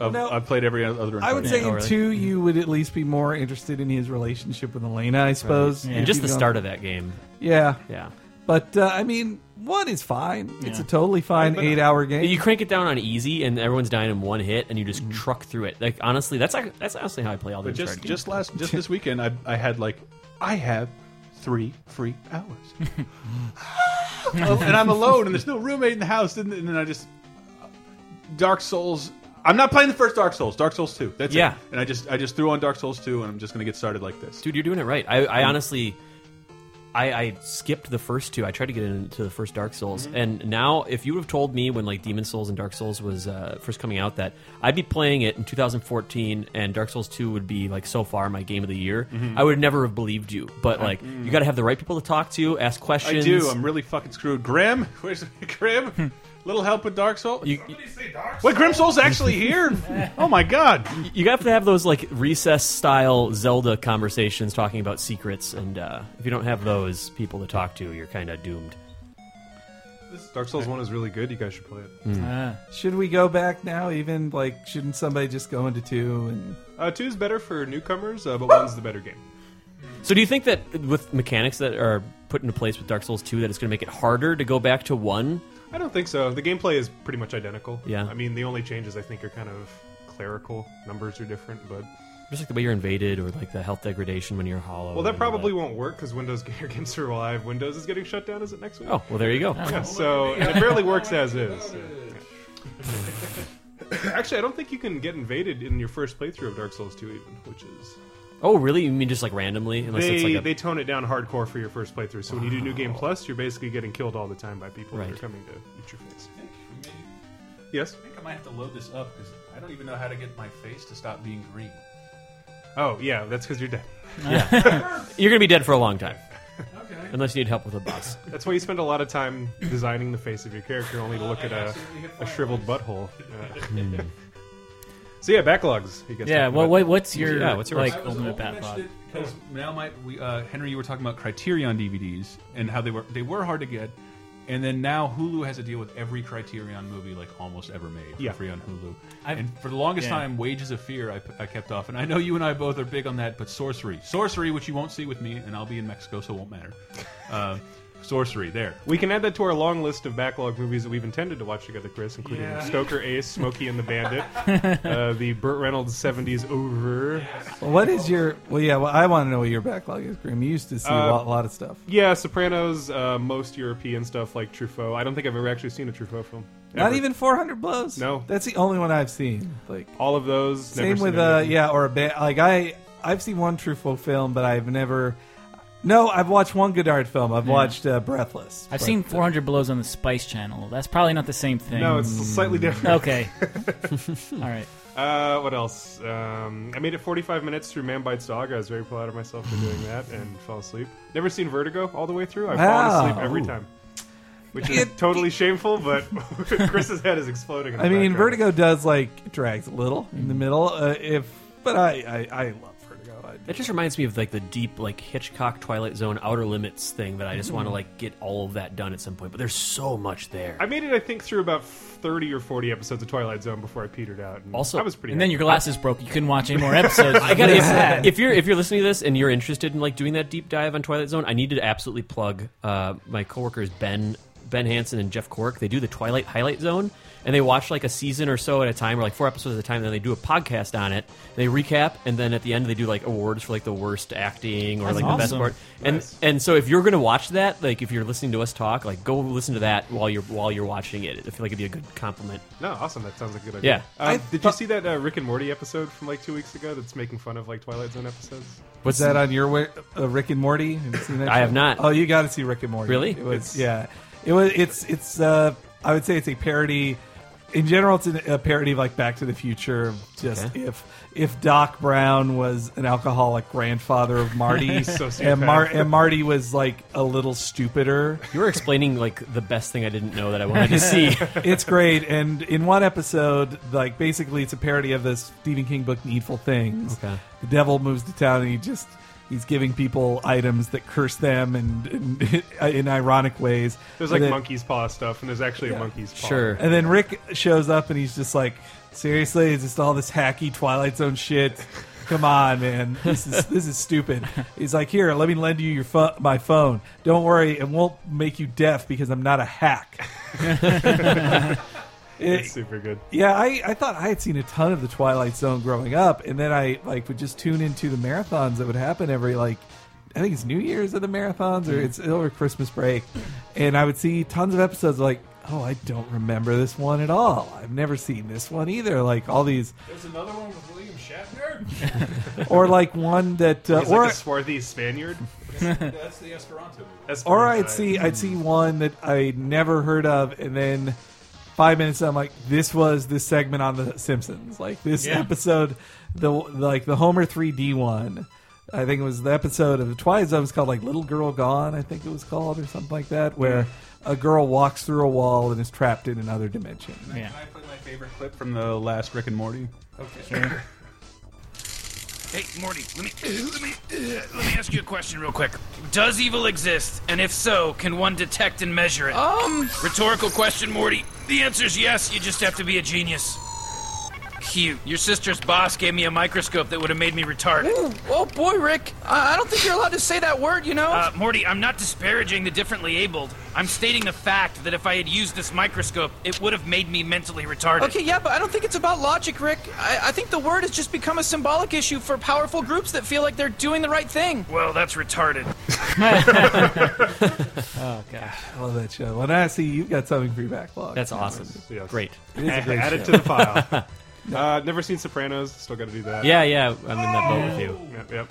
I've,
No.
I've played every other.
I would
Uncharted
say
game.
in two, you would at least be more interested in his relationship with Elena, I suppose.
Yeah.
And just
If
the
you don't-
start of that game.
Yeah,
Yeah.
but uh, I mean, one is fine. It's a
Yeah.
totally fine eight-hour game.
You crank it down on easy, and everyone's dying in one hit, and you
Mm-hmm.
just truck through it. Like honestly, that's like, that's honestly how I play all the
But just
Uncharted games.
just last
[laughs]
just this weekend, I I had like I have three free hours,
[laughs]
Oh, and I'm alone, and there's no roommate in the house, and, and then I just Dark Souls. I'm not playing the first Dark Souls. Dark Souls two. That's
Yeah.
it. And I just I just threw on Dark Souls two, and I'm just gonna get started like this.
dude, you're doing it right. I,
Mm.
I honestly, I, I skipped the first two. I tried to get into the first Dark Souls,
Mm-hmm.
and now if you would have told me when like Demon Souls and Dark Souls was uh, first coming out that I'd be playing it in 2014, and Dark Souls 2 would be like so far my game of the year,
Mm-hmm.
I would never have believed you. But like, you got to have the right people to talk to, ask
Mm. I
questions.
do. I'm really fucking screwed. Grim, [laughs] where's Grim? Little help with Dark Souls.
Hmm. You-
Wait, Grim Soul's actually
[laughs]
here? oh my god!
you have to have those like recess style Zelda conversations talking about secrets, and uh, if you don't have those people to talk to, you're kind of doomed.
Dark Souls One is really good. You guys should play it.
Ah.
should we go back now? Even like, shouldn't somebody just go into two? And
Uh, two is better for newcomers, uh, but one's the better game.
So do you think that with mechanics that are put into place with Dark Souls 2 that it's going to make it harder to go back to 1?
I don't think so. The gameplay is pretty much identical.
Yeah.
I mean, the only changes I think are kind of clerical. Numbers are different, but
Just like the way you're invaded or like the health degradation when you're hollow.
well, that
and all
probably won't work because Windows [laughs] your games survive. Windows is getting shut down. Is it next week?
Oh, well there you go.
Yeah, so and it barely works as is.
[laughs]
Actually, I don't think you can get invaded in your first playthrough of Dark Souls 2, even, which is
Oh, really? You mean just like randomly unless
they
it's like a
they tone it down hardcore for your first playthrough. So when you do New Game Plus, you're basically getting killed all the time by people that
Right.
are coming to eat your face. Yes.
I think I might have to load this up because I don't even know how to get my face to stop being green.
Oh yeah, that's because you're dead.
You're going to be dead for
[laughs]
a long time. Unless you need help with a boss.
That's why you spend a lot of time designing the face of your character, only to look at a, a shriveled butthole. Yeah. so yeah, backlogs. You guys
Yeah.
talking
Well,
about.
what, what's your
Yeah, what's yours?
like
I
ultimate backlog?
because now my we, uh, Henry, you were talking about Criterion DVDs and how they were they were hard to get, and then now Hulu has a deal with every Criterion movie like almost ever made for
Yeah.
free on Hulu.
I've-
and for the longest
yeah.
time, Wages of Fear I, I kept off, and I know you and I both are big on that. But Sorcery, Sorcery, which you won't see with me, and I'll be in Mexico, so it
[laughs]
won't matter. Uh, sorcery, there.
We can add that to our long list of backlog movies that we've intended to watch together, Chris, including Stoker Ace, Smokey and the Bandit, uh, the Burt Reynolds 70s over.
well, what is your? Well, yeah. Well, I want to know what your backlog is, Grim. You used to see a, lot, lot of stuff.
Yeah, Sopranos, uh, most European stuff like Truffaut. I don't think I've ever actually seen a Truffaut film.
Not
Ever.
even 400 blows.
No.
that's the only one I've seen. Like
All of those.
Same
never
with
seen
uh,
any.
yeah, or a band. Like I, I've seen one Truffaut film, but I've never. No, I've watched one Godard film. I've watched uh, Breathless.
I've
But-
seen 400 blows on the Spice Channel. That's probably not the same thing.
No, it's
Hmm.
slightly
Oh,
different.
[laughs]
[laughs] okay. All right.
Uh, what else? Um, I made it 45 minutes through Man Bites Dog. I was very proud of myself for doing that and fell asleep. Never seen Vertigo all the way through. I've fallen
Wow.
asleep every time. Which is totally shameful, but [laughs] Chris's head is exploding. in the
I mean,
background.
Vertigo does like it drags a little in the middle. Uh, if, but I, I, I love Vertigo. I do.
That just reminds me of like the deep like Hitchcock Twilight Zone Outer Limits thing that I just want to like get all of that done at some point, but there's so much there.
I made it, I think, through about 30 or 40 episodes of Twilight Zone before I petered out. And
Also-
I was pretty.
And then
happy.
your glasses broke. You couldn't watch any more episodes.
[laughs] I gotta,
Really
if,
sad.
if you're if you're listening to this and you're interested in like doing that deep dive on Twilight Zone, I need to absolutely plug uh, my coworkers Ben Ben Hansen and Jeff Cork. They do the Twilight Highlight Zone, and they watch like a season or so at a time, or like four episodes at a time. And then they do a podcast on it. They recap, and then at the end they do like awards for like the worst acting or like the best
awesome.
part. And and so if you're gonna watch that, like if you're listening to us talk, like go listen to that while you're while you're watching it. I feel like it'd be a good compliment.
No, awesome. That sounds like a good idea.
Yeah.
Um,
I
did you
thought-
see that uh, Rick and Morty episode from like two weeks ago that's making fun of like Twilight Zone episodes?
What's
Is that on your wi- uh, Rick and Morty? Have you seen that
I
show?
have not.
Oh, you got to see Rick and Morty.
Really?
It was, yeah. It was. It's. It's. Uh, I would say it's a parody. In general, it's an, a parody of like Back to the Future. Of just
Okay.
if if Doc Brown was an alcoholic grandfather
[laughs]
of Marty,
So
and, Mar-
psychopath.
and Marty was like a little stupider.
You were explaining like the best thing I didn't know that I wanted to
[laughs]
see.
it's great. And in one episode, like basically, it's a parody of the Stephen King book Needful Things.
Okay.
The devil moves to town, and he just he's giving people items that curse them and, and [laughs] in ironic ways.
There's like
and then,
monkey's paw stuff, and there's actually a monkey's paw.
sure.
And then Rick shows up, and he's just like, "Seriously, is this all this hacky Twilight Zone shit?" Come on, man. This is this is stupid. He's like, here, let me lend you your pho- my phone. Don't worry, it won't make you deaf because I'm not a hack. [laughs] It-
It's super good.
yeah, I, I thought I had seen a ton of the Twilight Zone growing up, and then I like would just tune into the marathons that would happen every like I think it's New Year's of the marathons or it's over Christmas break, and I would see tons of episodes like oh I don't remember this one at all. I've never seen this one either. Like all these,
There's another one with William
[laughs]
Shatner.
or like one that uh,
He's
or
like a swarthy Spaniard.
[laughs] That's the Esperanto.
That's
or I'd see I'd see one that I never heard of, and then five minutes in, I'm like, this was this segment on the Simpsons, like this
Yeah.
episode, the like the Homer 3D one. I think it was the episode of the Twilight Zone was called like Little Girl Gone, I think it was called or something like that, where a girl walks through a wall and is trapped in another dimension.
Yeah.
I play my favorite clip from the last Rick and Morty.
Hey, Morty, let me [clears throat] let me let me ask you a question real quick. Does evil exist? And if so, can one detect and measure it?
Uh.
Um, rhetorical question, Morty. The answer's yes. You just have to be a genius. Cute. Your sister's boss gave me a microscope that would have made me retarded.
Oh boy, Rick, I I don't think you're allowed to say that word, you know?
Uh, Morty, I'm not disparaging the differently abled. I'm stating the fact that if I had used this microscope, it would have made me mentally retarded.
okay, yeah, but I don't think it's about logic, Rick. I, I think the word has just become a symbolic issue for powerful groups that feel like they're doing the right thing.
Well, that's retarded.
Oh,
I love that show. When I see you've got something for your backlog.
That's awesome. [laughs]
Yes.
Great.
It is a great
Add
show.
it to the [laughs] pile. uh, never seen Sopranos. Still got to do that.
Yeah, yeah. I'm in that boat with you.
Yep. yep.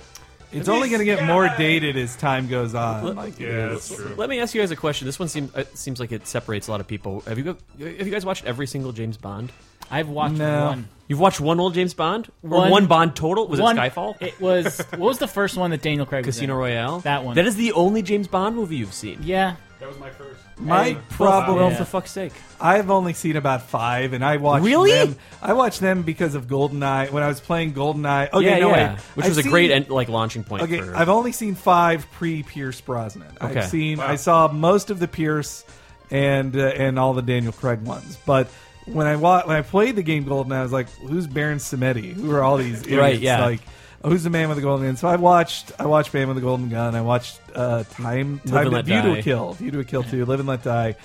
It's only going to get more dated as time goes on. Like,
Yeah, that's true.
Let me ask you guys a question. This one seems it seems like it separates a lot of people. Have you go, have you guys watched every single James Bond?
I've watched
No.
one.
You've watched one old James Bond or
One-
one, Bond total? Was
one,
it Skyfall?
It was. What was the first one that Daniel Craig was in?
Casino Royale.
That one.
That is the only James Bond movie you've seen.
Yeah.
That was my first.
my problem
Well,
Yeah.
for fuck's sake.
I've only seen about five, and I watched
Really?
them. I watched them because of GoldenEye when I was playing GoldenEye. Okay,
Oh, yeah,
no,
yeah.
wait.
Which
I've
was a
seen-
great en- like launching point.
Okay,
for,
I've um, only seen five pre Pierce Brosnan.
Okay.
I've seen. I saw most of the Pierce and uh, and all the Daniel Craig ones, but. When I wa- when I played the game Goldeneye, I was like, "Who's Baron Samedi? Who are all these idiots?
Right, yeah.
Like, who's the man with the golden gun?" So I watched I watched Man with the Golden Gun. I watched uh, Time
Live
Time
and
to
Let
View to
Die.
a Kill, View to a Kill too, Live and Let Die.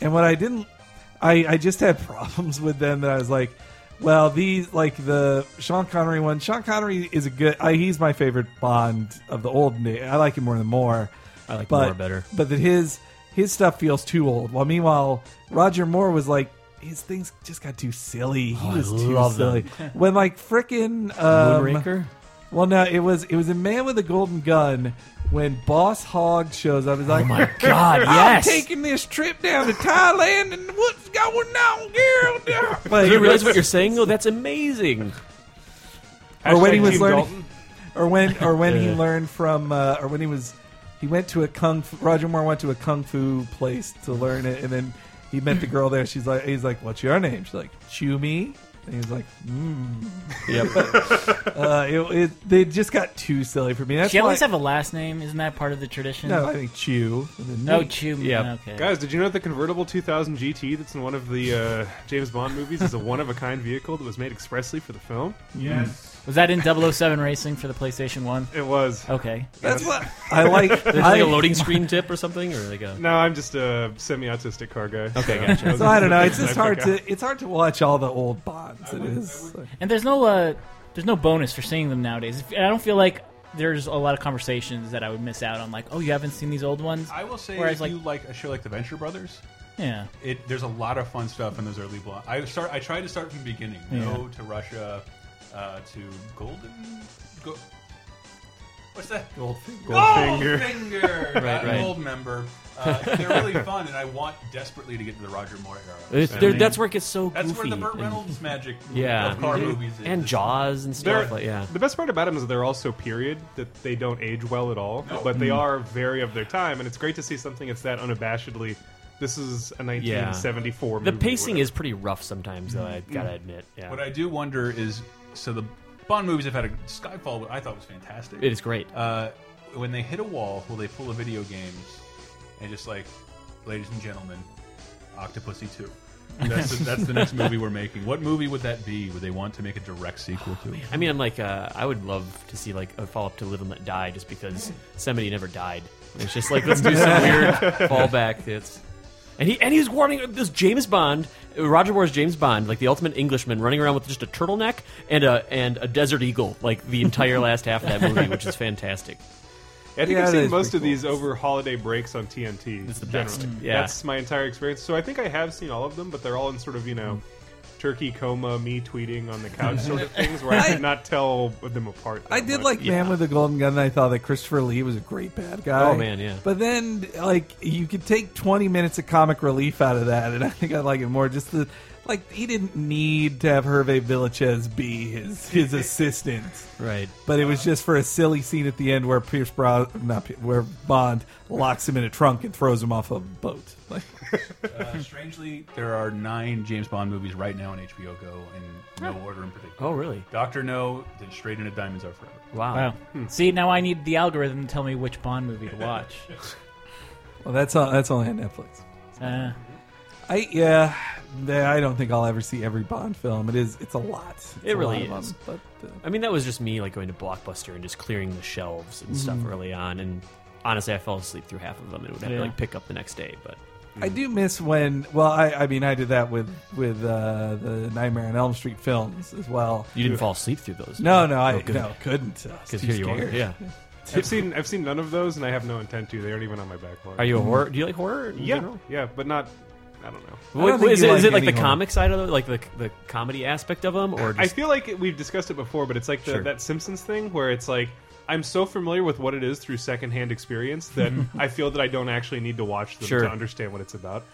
And what I didn't, I I just had [laughs] problems with them that I was like, well, these like the Sean Connery one. Sean Connery is a good. I, he's my favorite Bond of the old. na- I like him more than Moore. I
like
but,
Moore better.
But that his his stuff feels too old. While meanwhile, Roger Moore was like. His things just got too silly. He was too
Oh, love
silly.
them. [laughs]
When like frickin' um,
Moonraker?
well, no, it was it was a man with a golden gun when Boss Hog shows up. He's
Oh,
like,
God,
[laughs] I'm
yes.
taking this trip down to Thailand, and what's going on,
[laughs]
girl?
Do
Like,
you realize what you're saying? though? that's amazing.
or when he
Hashtag
was
Team
learning,
Dalton.
or when or when
[laughs]
he
Yeah.
learned from, uh, or when he was, he went to a kung. Fu, Roger Moore went to a kung fu place to learn it, and then he met the girl there. She's like, he's like, what's your name? She's like, Chew Me. And he's like,
[laughs] Yep.
uh, it, it, they just got too silly for me. That's
She at
why-
least have a last name. Isn't that part of the tradition?
no, I think Chew. and then
No,
me.
Chew.
Yeah.
Okay.
Guys, did you know that the convertible 2000 GT that's in one of the uh, James Bond
[laughs]
movies is a one-of-a-kind vehicle that was made expressly for the film? Yes,
Was that in [laughs] 007 Racing for the PlayStation One?
it was.
Okay.
That's what
[laughs]
I like.
There's like
I-
a loading screen tip or something, or like a.
No, I'm just a semi-autistic car guy.
Okay,
[laughs]
so-
gotcha.
So I don't know. It's just
I
hard
forgot.
to it's hard to watch all the old Bonds. It is.
And there's no uh, there's no bonus for seeing them nowadays. If- I don't feel like there's a lot of conversations that I would miss out on. Like, oh, you haven't seen these old ones.
I will say,
Whereas,
if
like-
you like a show like The Venture Brothers,
yeah.
it there's a lot of fun stuff in those early blocks. I start. I tried to start from the beginning. No to Russia, uh, to Golden. Go,
What's that?
Goldfinger.
Goldfinger.
Right, right.
Gold member. Uh, they're really fun, and I want desperately to get to the Roger Moore era.
It's-
So, I
they're-
mean,
that's where it gets so
that's
goofy.
where the Burt
and-
Reynolds magic
[laughs] yeah,
of car movies is.
and Jaws and
They're-
stuff. Like, yeah,
The best part about them is they're also period that they don't age well at all, but
Mm.
they are very of their time, and it's great to see something that's that unabashedly. This is a 1974
the
movie.
pacing
whatever.
is pretty rough sometimes, though. I gotta admit. Yeah,
What I do wonder is, so the Bond movies have had a Skyfall, what I thought was fantastic.
it is great.
Uh, when they hit a wall, will they pull the video games and just like, ladies and gentlemen, Octopussy Two. That's the, that's
[laughs]
the next movie we're making. What movie would that be? Would they want to make a
Oh,
direct sequel to?
I mean, I'm like, uh, I would love to see like a follow up to Live and Let Die, just because somebody never died. It's just like let's do [laughs] some weird fallback. It's and he and he's warning this James Bond, Roger Moore's James Bond, like the ultimate Englishman, running around with just a turtleneck and a and a desert eagle, like the entire last half of that movie, which is fantastic.
I think
Yeah,
I've
that
seen
is
most
pretty
of
cool.
these over holiday breaks on TNT. It's
the best. Mm. Yeah.
That's my entire experience. So I think I have seen all of them, but they're all in sort of, you know, turkey coma, me tweeting
[laughs]
on the couch sort of things where I
Hmm. I- [laughs]
could not tell them apart.
I
that
did
much.
like Man with the Golden Gun. and I thought that Christopher Lee was a great bad guy.
Oh, man, yeah.
But then, like, you could take twenty minutes of comic relief out of that, and I think I like it more. Just the like, he didn't need to have Hervé Villachez be his his assistant,
Right.
but it was just for a silly scene at the end where Pierce Bro not Pierce, where Bond locks him in a trunk and throws him off a boat. Like,
Uh, strangely, there are nine James Bond movies right now on HBO Go in no order in particular.
Oh, really?
Doctor No, then straight into Diamonds Are Forever.
Wow.
Wow. See, now I need the algorithm to tell me which Bond movie to watch.
well, that's all. That's only on Netflix.
Uh,
I yeah, I don't think I'll ever see every Bond film. It is. It's a lot. It's
It
a
really
lot of
is.
them, but. Uh,
I mean, that was just me like going to Blockbuster and just clearing the shelves and stuff
Mm-hmm.
early on. And honestly, I fell asleep through half of them and would have
Yeah.
to like pick up the next day. But
I do miss when. Well, I, I mean, I did that with with uh, the Nightmare on Elm Street films as well.
you didn't fall asleep through those.
No, no, I
Oh, good.
no couldn't. I was
Because
too
here you are.
scared.
Yeah.
I've seen I've seen none of those, and I have no intent to. They aren't even on my backlog.
Are you a
Mm.
horror? Do you like horror? In
Yeah,
General?
yeah, but not. I don't know.
I don't
What-
think
is,
you
it, is
like
it like
any
the
horror.
comic side of it, like the the comedy aspect of them, or
I
just
feel like it- we've discussed it before, but it's like the,
Sure.
that Simpsons thing where it's like I'm so familiar with what it is through secondhand experience that
[laughs]
I feel that I don't actually need to watch them
Sure.
to understand what it's about,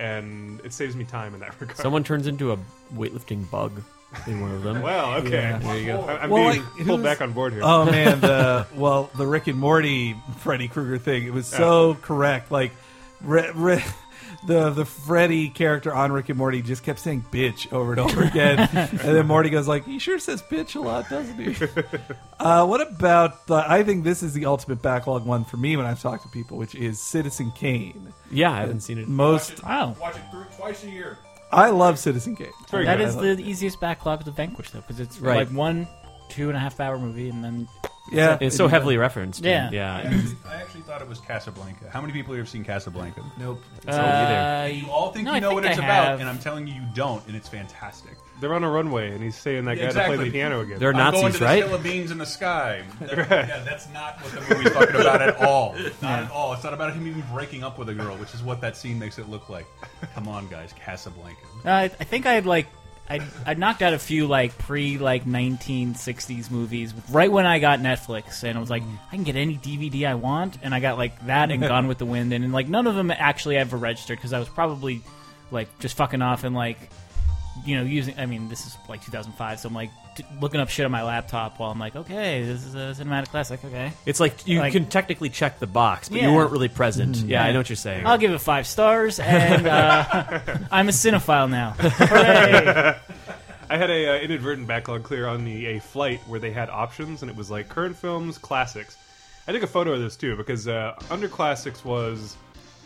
and it saves me time in that [laughs] regard.
someone turns into a weightlifting bug in one of them?
well, okay, there you go. I'm
Well,
being
like,
pulled
who's-
back on board here.
[laughs]
Uh,
Oh man, the well, the Rick and Morty Freddy Krueger thing. It was so correct. Like, re, re, the the Freddy character on Rick and Morty just kept saying "bitch" over and over again, and then Morty goes like, "He sure says bitch a lot, doesn't he?" uh, what about? The, I think this is the ultimate backlog one for me when I've talked to people, which is Citizen Kane.
yeah, I haven't seen it.
Most
wow.
Watch it through twice a year.
I love Citizen Kane.
very
That
good.
is the easiest backlog to vanquish, though, because it's
Right.
like one, two and a half hour movie, and then
Yeah,
It's so heavily referenced.
Yeah.
I
yeah.
actually, I actually thought it was Casablanca. How many people here have seen Casablanca?
Nope.
uh,
You all think
no,
you
I
know what
think
it's
I
about,
have.
and I'm telling you, you don't, and it's fantastic.
They're on a runway, and he's saying that guy to play
Exactly.
the piano again.
They're
I'm going to
Nazis,
the
right?
hill of beans in
[laughs]
the sky. Yeah, that's not what the movie's talking about at all.
[laughs]
Not at all. It's not about him even breaking up with a girl, which is what that scene makes it look like. Come on, guys, Casablanca.
No, Uh, I, I think I had like I I knocked out a few like pre like 1960s movies right when I got Netflix and I was like I can get any DVD I want and I got like that and Gone with the Wind and, like none of them actually ever registered because I was probably like just fucking off and like you know using I mean this is like 2005 so I'm like t- looking up shit on my laptop while I'm like okay this is a cinematic classic okay
It's like you
Like-
can technically check the box, but
Yeah.
you weren't really present.
Mm-hmm.
Yeah, I know what you're saying.
I'll give it five stars and uh, I'm a cinephile now Hooray.
I had a uh, inadvertent backlog clear on the a flight where they had options, and it was like current films, classics. I took a photo of this too because uh, under classics was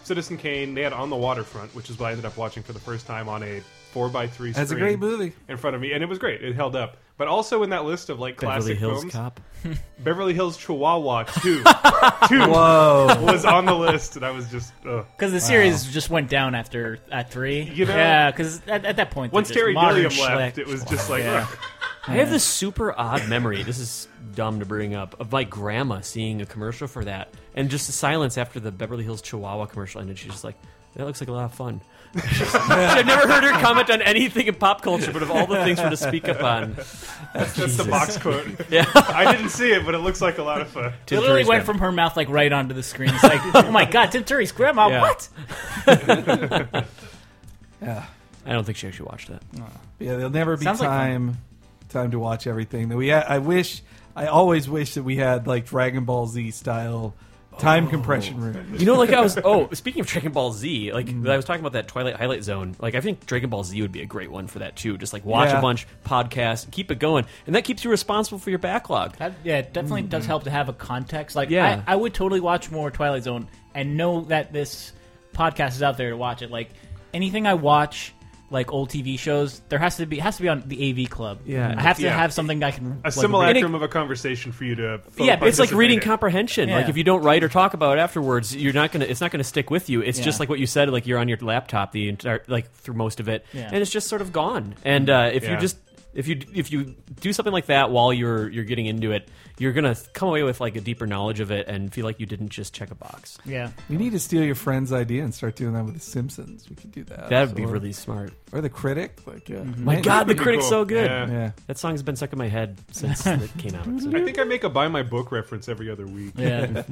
Citizen Kane. They had On the Waterfront, which is what I ended up watching for the first time on a four by three.
That's a great movie.
in front of me, and it was great. It held up. But also in that list of like
Beverly
classic
Hills
films,
Cop.
Beverly Hills Chihuahua two, two
Whoa.
was on the list, and I was just ugh.
Because the series just went down after at three.
You know-
yeah, because at, at that point, they're
once
just
Terry
modern
Gilliam left,
schlick.
it was just like
Yeah.
ugh.
I have this super odd memory. This is dumb to bring up of my grandma seeing a commercial for that, and just the silence after the Beverly Hills Chihuahua commercial ended. She's just like, that looks like a lot of fun. [laughs] I've never heard her comment on anything in pop culture, but of all the things for her to speak up on,
That's the box quote.
yeah,
I didn't see it, but it looks like a lot of fun.
It literally went from her mouth like right onto the screen. It's like, oh my god, Tim Curry's grandma.
Yeah.
What?
Yeah.
I don't think she actually watched that.
But yeah, there'll never be
Sounds like
time time to watch everything that we. Ha- I wish. I always wish that we had like Dragon Ball Z style time compression room.
You know, like I was. Oh, speaking of Dragon Ball Z, like I was talking about that Twilight Highlight Zone. Like I think Dragon Ball Z would be a great one for that too. Just like watch
Yeah.
a bunch, podcast, keep it going, and that keeps you responsible for your backlog.
That, yeah, it definitely
Mm-hmm.
does help to have a context. Like,
Yeah.
I, I would totally watch more Twilight Zone and know that this podcast is out there to watch it. Like anything I watch, like old TV shows, there has to be has to be on the AV Club.
Yeah.
I have to
Yeah.
have something I can
A
like, read.
simulacrum of a conversation for you to. fully
Yeah,
It's like
participate
reading
in.
comprehension. Like
Yeah.
if you don't write or talk about it afterwards, you're not gonna. It's not gonna stick with you. It's just
Yeah.
like what you said. Like you're on your laptop the entire like through most of it,
Yeah.
and it's just sort of gone. And uh, if
Yeah.
you just if you if you do something like that while you're you're getting into it, you're gonna come away with like a deeper knowledge of it and feel like you didn't just check a box.
Yeah,
You need to steal your friend's idea and start doing that with The Simpsons. We could do that.
That would be
Or-
really Mm-hmm. smart.
Or the critic. Like, yeah.
My
Man,
God, the
Pretty
critic's
cool.
so good.
Yeah.
Yeah.
That song's been stuck in my head since it came out. So.
I
[laughs]
think I make a buy my book reference every other week.
yeah.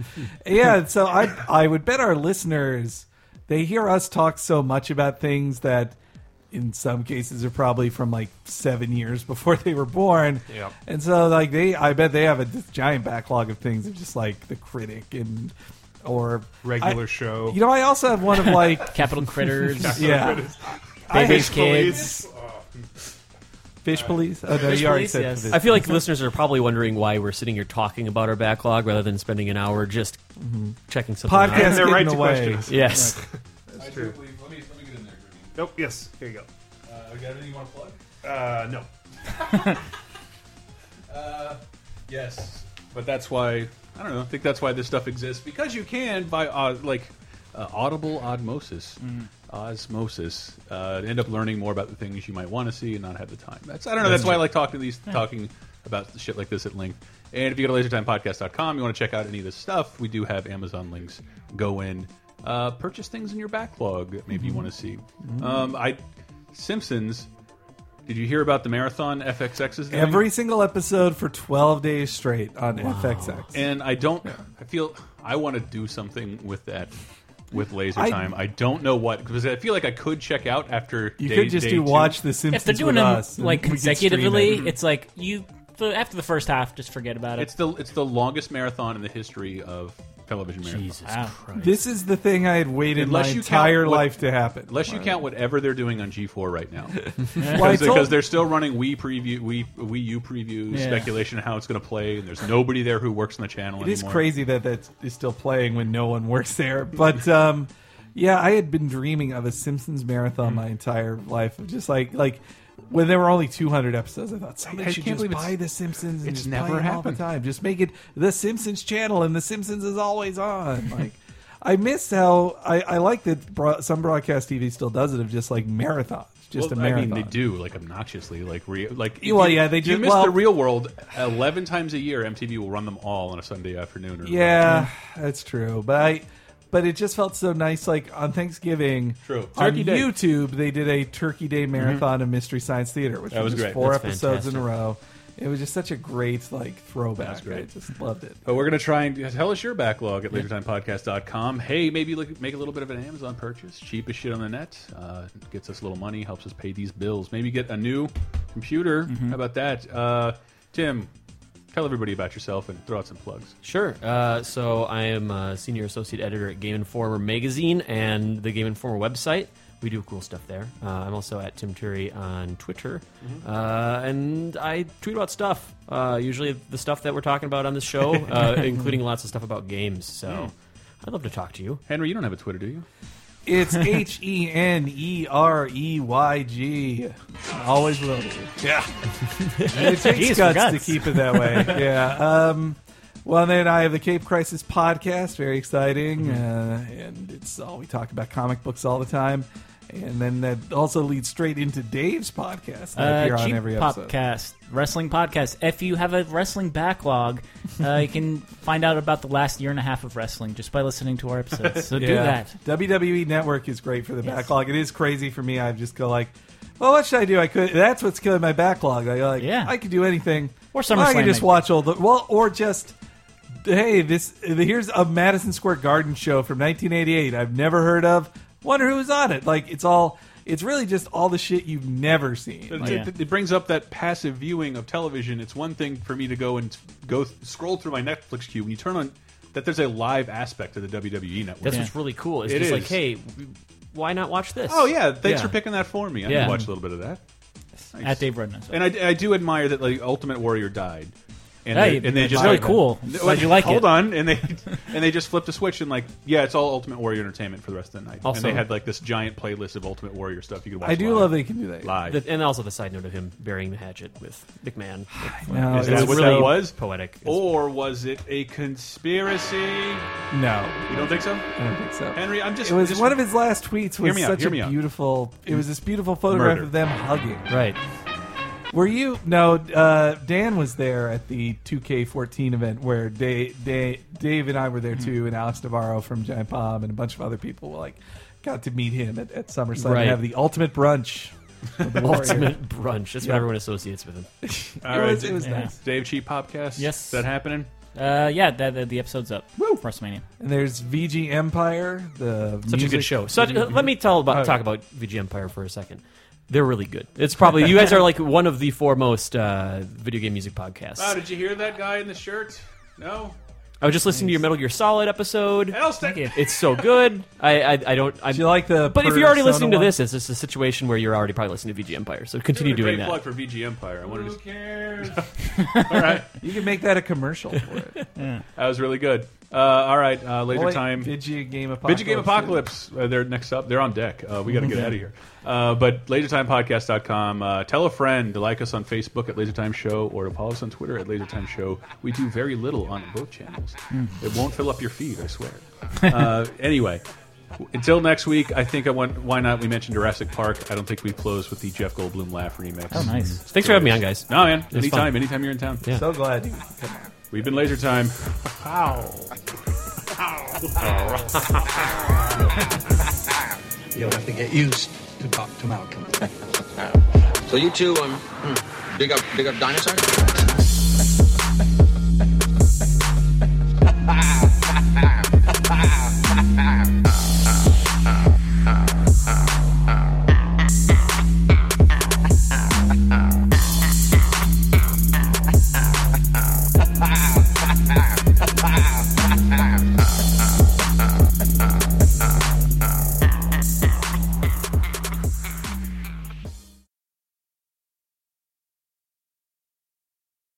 yeah so i i would bet our listeners they hear us talk so much about things that in some cases are probably from like seven years before they were born
Yeah.
and so like they i bet they have a this giant backlog of things of just like the critic and or
[laughs] Regular
I-
show.
you know i also have one
[laughs]
of like
Capital
[laughs]
Critters.
yeah I hate
Baby's
Fish police.
Kids.
fish police oh no
Fish
you already
police,
said
yes.
fish.
I feel like listeners are probably wondering why we're sitting here talking about our backlog rather than spending an hour just checking something. out.
podcast
And they're
getting
right to
away
questions.
Yes.
That's true. Let me, let me get in there.
Nope. Yes. Here you go.
Uh, got anything you want to plug?
Uh, no.
Yes, but that's why I don't know. I think that's why this stuff exists because you can by uh, like uh, audible osmosis, osmosis, uh, end up learning more about the things you might want to see and not have the time. That's I don't know. That's why I like talking to these talking about shit like this at length. And if you go to lasertimepodcast.com, you want to check out any of this stuff. We do have Amazon links. Go in, uh, purchase things in your backlog that maybe you want to see. Um, I Simpsons. Did you hear about the marathon FXX is doing?
every single episode for 12 days straight on fxx
and I don't. I feel I want to do something with that with laser
I-
time. I don't know what because I feel like I could check out after.
you
day,
could just
day
do
two.
watch the simpsons
If they're doing
with
them
us and
like
we could stream it.
consecutively, it's like you the- after the first half, just forget about it.
It's the it's the longest marathon in the history of television marathons.
Jesus
Wow.
Christ.
This is the thing I had waited
Unless
my
you count
entire
what-
life to happen.
Unless you count whatever they're doing on G4
[laughs]
right now,
Well, I
because
told-
because they're still running Wii preview, Wii, Wii U previews,
Yeah.
speculation of how it's going to play, and there's nobody there who works on the channel
it is
anymore.
crazy that that is still playing when no one works there. But um, yeah, I had been dreaming of a Simpsons
Hmm.
marathon my entire life. of Just like like when there were only 200 episodes, I thought somebody
I
should
can't
just
believe it's-
buy the Simpsons. And
it's
just
never
play them all the
happened.
time. Just make it the Simpsons channel, and the Simpsons is always on. Like. I miss how I, I like that bro- some broadcast TV still does it of just like marathons, just
well,
a marathon.
I mean, they do like obnoxiously, like re- like. if
Well,
you-
yeah, they
if
do-
You miss
well-
the real world eleven times a year. MTV will run them all on a Sunday afternoon. Or
Yeah, that's true. But I, but it just felt so nice. Like on Thanksgiving,
True.
on
Turkey Day. Mm-hmm.
YouTube, they did a Turkey Day marathon of Mystery Science Theater, which
That
was,
was
just
great.
four
That's
episodes in a
fantastic.
row. It was just such a great like throwback. I just loved it.
But we're gonna try and tell us your backlog at lasertimepodcast.com. Hey, maybe look, make a little bit of an Amazon purchase, cheapest shit on the net. Uh, gets us a little money, helps us pay these bills. Maybe get a new computer.
Mm-hmm.
How about that, uh, Tim? Tell everybody about yourself and throw out some plugs.
Sure. Uh, so I am a senior associate editor at Game Informer magazine and the Game Informer website. We do cool stuff there. Uh, I'm also at Tim Turi on Twitter, uh, and I tweet about stuff. Uh, usually the stuff that we're talking about on this [laughs] show, uh, including lots of stuff about games. So I'd love to talk to you.
Henry, you don't have a Twitter, do you?
[laughs]
It's H E N E R E Y G. Always will be. Yeah. it takes
Jeez,
guts,
for guts.
to keep it that
[laughs]
way. yeah. Um, well, then I have the Cape Crisis
Mm-hmm.
podcast. Very exciting. Uh, and it's all we talk about comic books all the time. and then that also leads straight into Dave's podcast. that
Uh,
appear on
cheap
every episode.
podcast, wrestling podcast. If you have a wrestling backlog, uh, you can find out about the last year and a half of wrestling just by listening to our episodes.
[laughs]
So do that.
WWE E Network is great for the backlog. It is crazy for me. I just go like, well, what should I do? I could. That's what's killing my backlog. I go like,
Yeah.
I could do anything.
Or
Well, I
SummerSlam
could just
night.
watch all the well, or just hey, this here's a Madison Square Garden show from 1988. I've never heard of. Wonder who was on it. Like it's all. It's really just all the shit you've never seen.
It,
Like,
Yeah.
it- it brings up that passive viewing of television. It's one thing for me to go and go th- scroll through my Netflix queue when you turn on that. There's a live aspect of the WWE network.
That's what's really cool. It's
It
just
is.
like, hey, w- why not watch this?
oh yeah, thanks
Yeah.
for picking that for me. I
Yeah.
can watch a little bit of that.
At Dave Rudness.
And I, I do admire that like Ultimate Warrior died. And
Yeah,
they,
you-
and they
it's
just
really cool. Glad you like it.
Hold on, and they and they just flipped a switch and like, yeah, it's all Ultimate Warrior entertainment for the rest of the night.
Also-
and they had like this giant playlist of Ultimate Warrior stuff you could watch.
I do
live.
love they can do that.
live.
The- and also the side note of him burying the hatchet with McMahon.
No,
Is
it's-
that what
really
that was?
poetic. It's-
or was it a conspiracy? You
no,
don't think so?
I don't think so.
Henry, I'm just.
It was
just-
one of his last tweets
Hear
was
me out,
such
hear
a
me out.
beautiful. It was this beautiful photograph
Murder.
of them hugging.
Right.
Were you? No, uh, Dan was there at the 2K14 event where Da- Da- Dave and I were
Mm-hmm.
there too, and Alex Navarro from Giant Bomb and a bunch of other people were like got to meet him at, at SummerSlam
Right.
and have the ultimate brunch. with
[laughs]
the Warrior.
Ultimate brunch. That's what everyone associates with him.
All
it
right,
was- it was nice.
Dave Cheap Podcast.
Yes.
Is that happening?
Uh, yeah, that, that- the episode's up. Woo! WrestleMania.
And there's VG Empire, the
Such a
music-
good show. Such, uh, let me tell about talk about VG Empire for a second. They're really good. It's probably you guys are like one of the foremost uh, video game music podcasts.
Oh, did you hear that guy in the shirt? No.
I was just listening to your Metal Gear Solid episode.
Hell, stick.
It's so good. I I, I don't. I,
Do you like the?
but if you're already
Persona
listening to
one?
this, it's just a situation where you're already probably listening to VG Empire. So continue
Doing a
doing
great
that.
plug for VG Empire. I wanted to.
cares?
you can make that a commercial for it.
[laughs] That was really good. Uh, all right, uh, laser
Oh, wait,
time.
VG Game Apocalypse.
Video Game Apocalypse. Uh, they're next up. They're on deck. Uh, we got to get out of here. Uh, but lasertimepodcast.com. Uh, tell a friend to like us on Facebook at Lasertime Show or to follow us on Twitter at Lasertime Show. We do very little on both channels. It won't fill up your feed, I swear. Uh, [laughs] anyway, w- until next week, I think I want. Why not? We mentioned Jurassic Park. I don't think we closed with the Jeff Goldblum laugh remix.
Oh, nice.
Thanks for having me on, guys.
No, man.
was fun.
Anytime. Anytime you're in town.
Yeah.
So glad you could come out.
We've been Laser Time.
You'll have to get used to Dr. Malcolm.
So you two, um, big up, big up dinosaurs?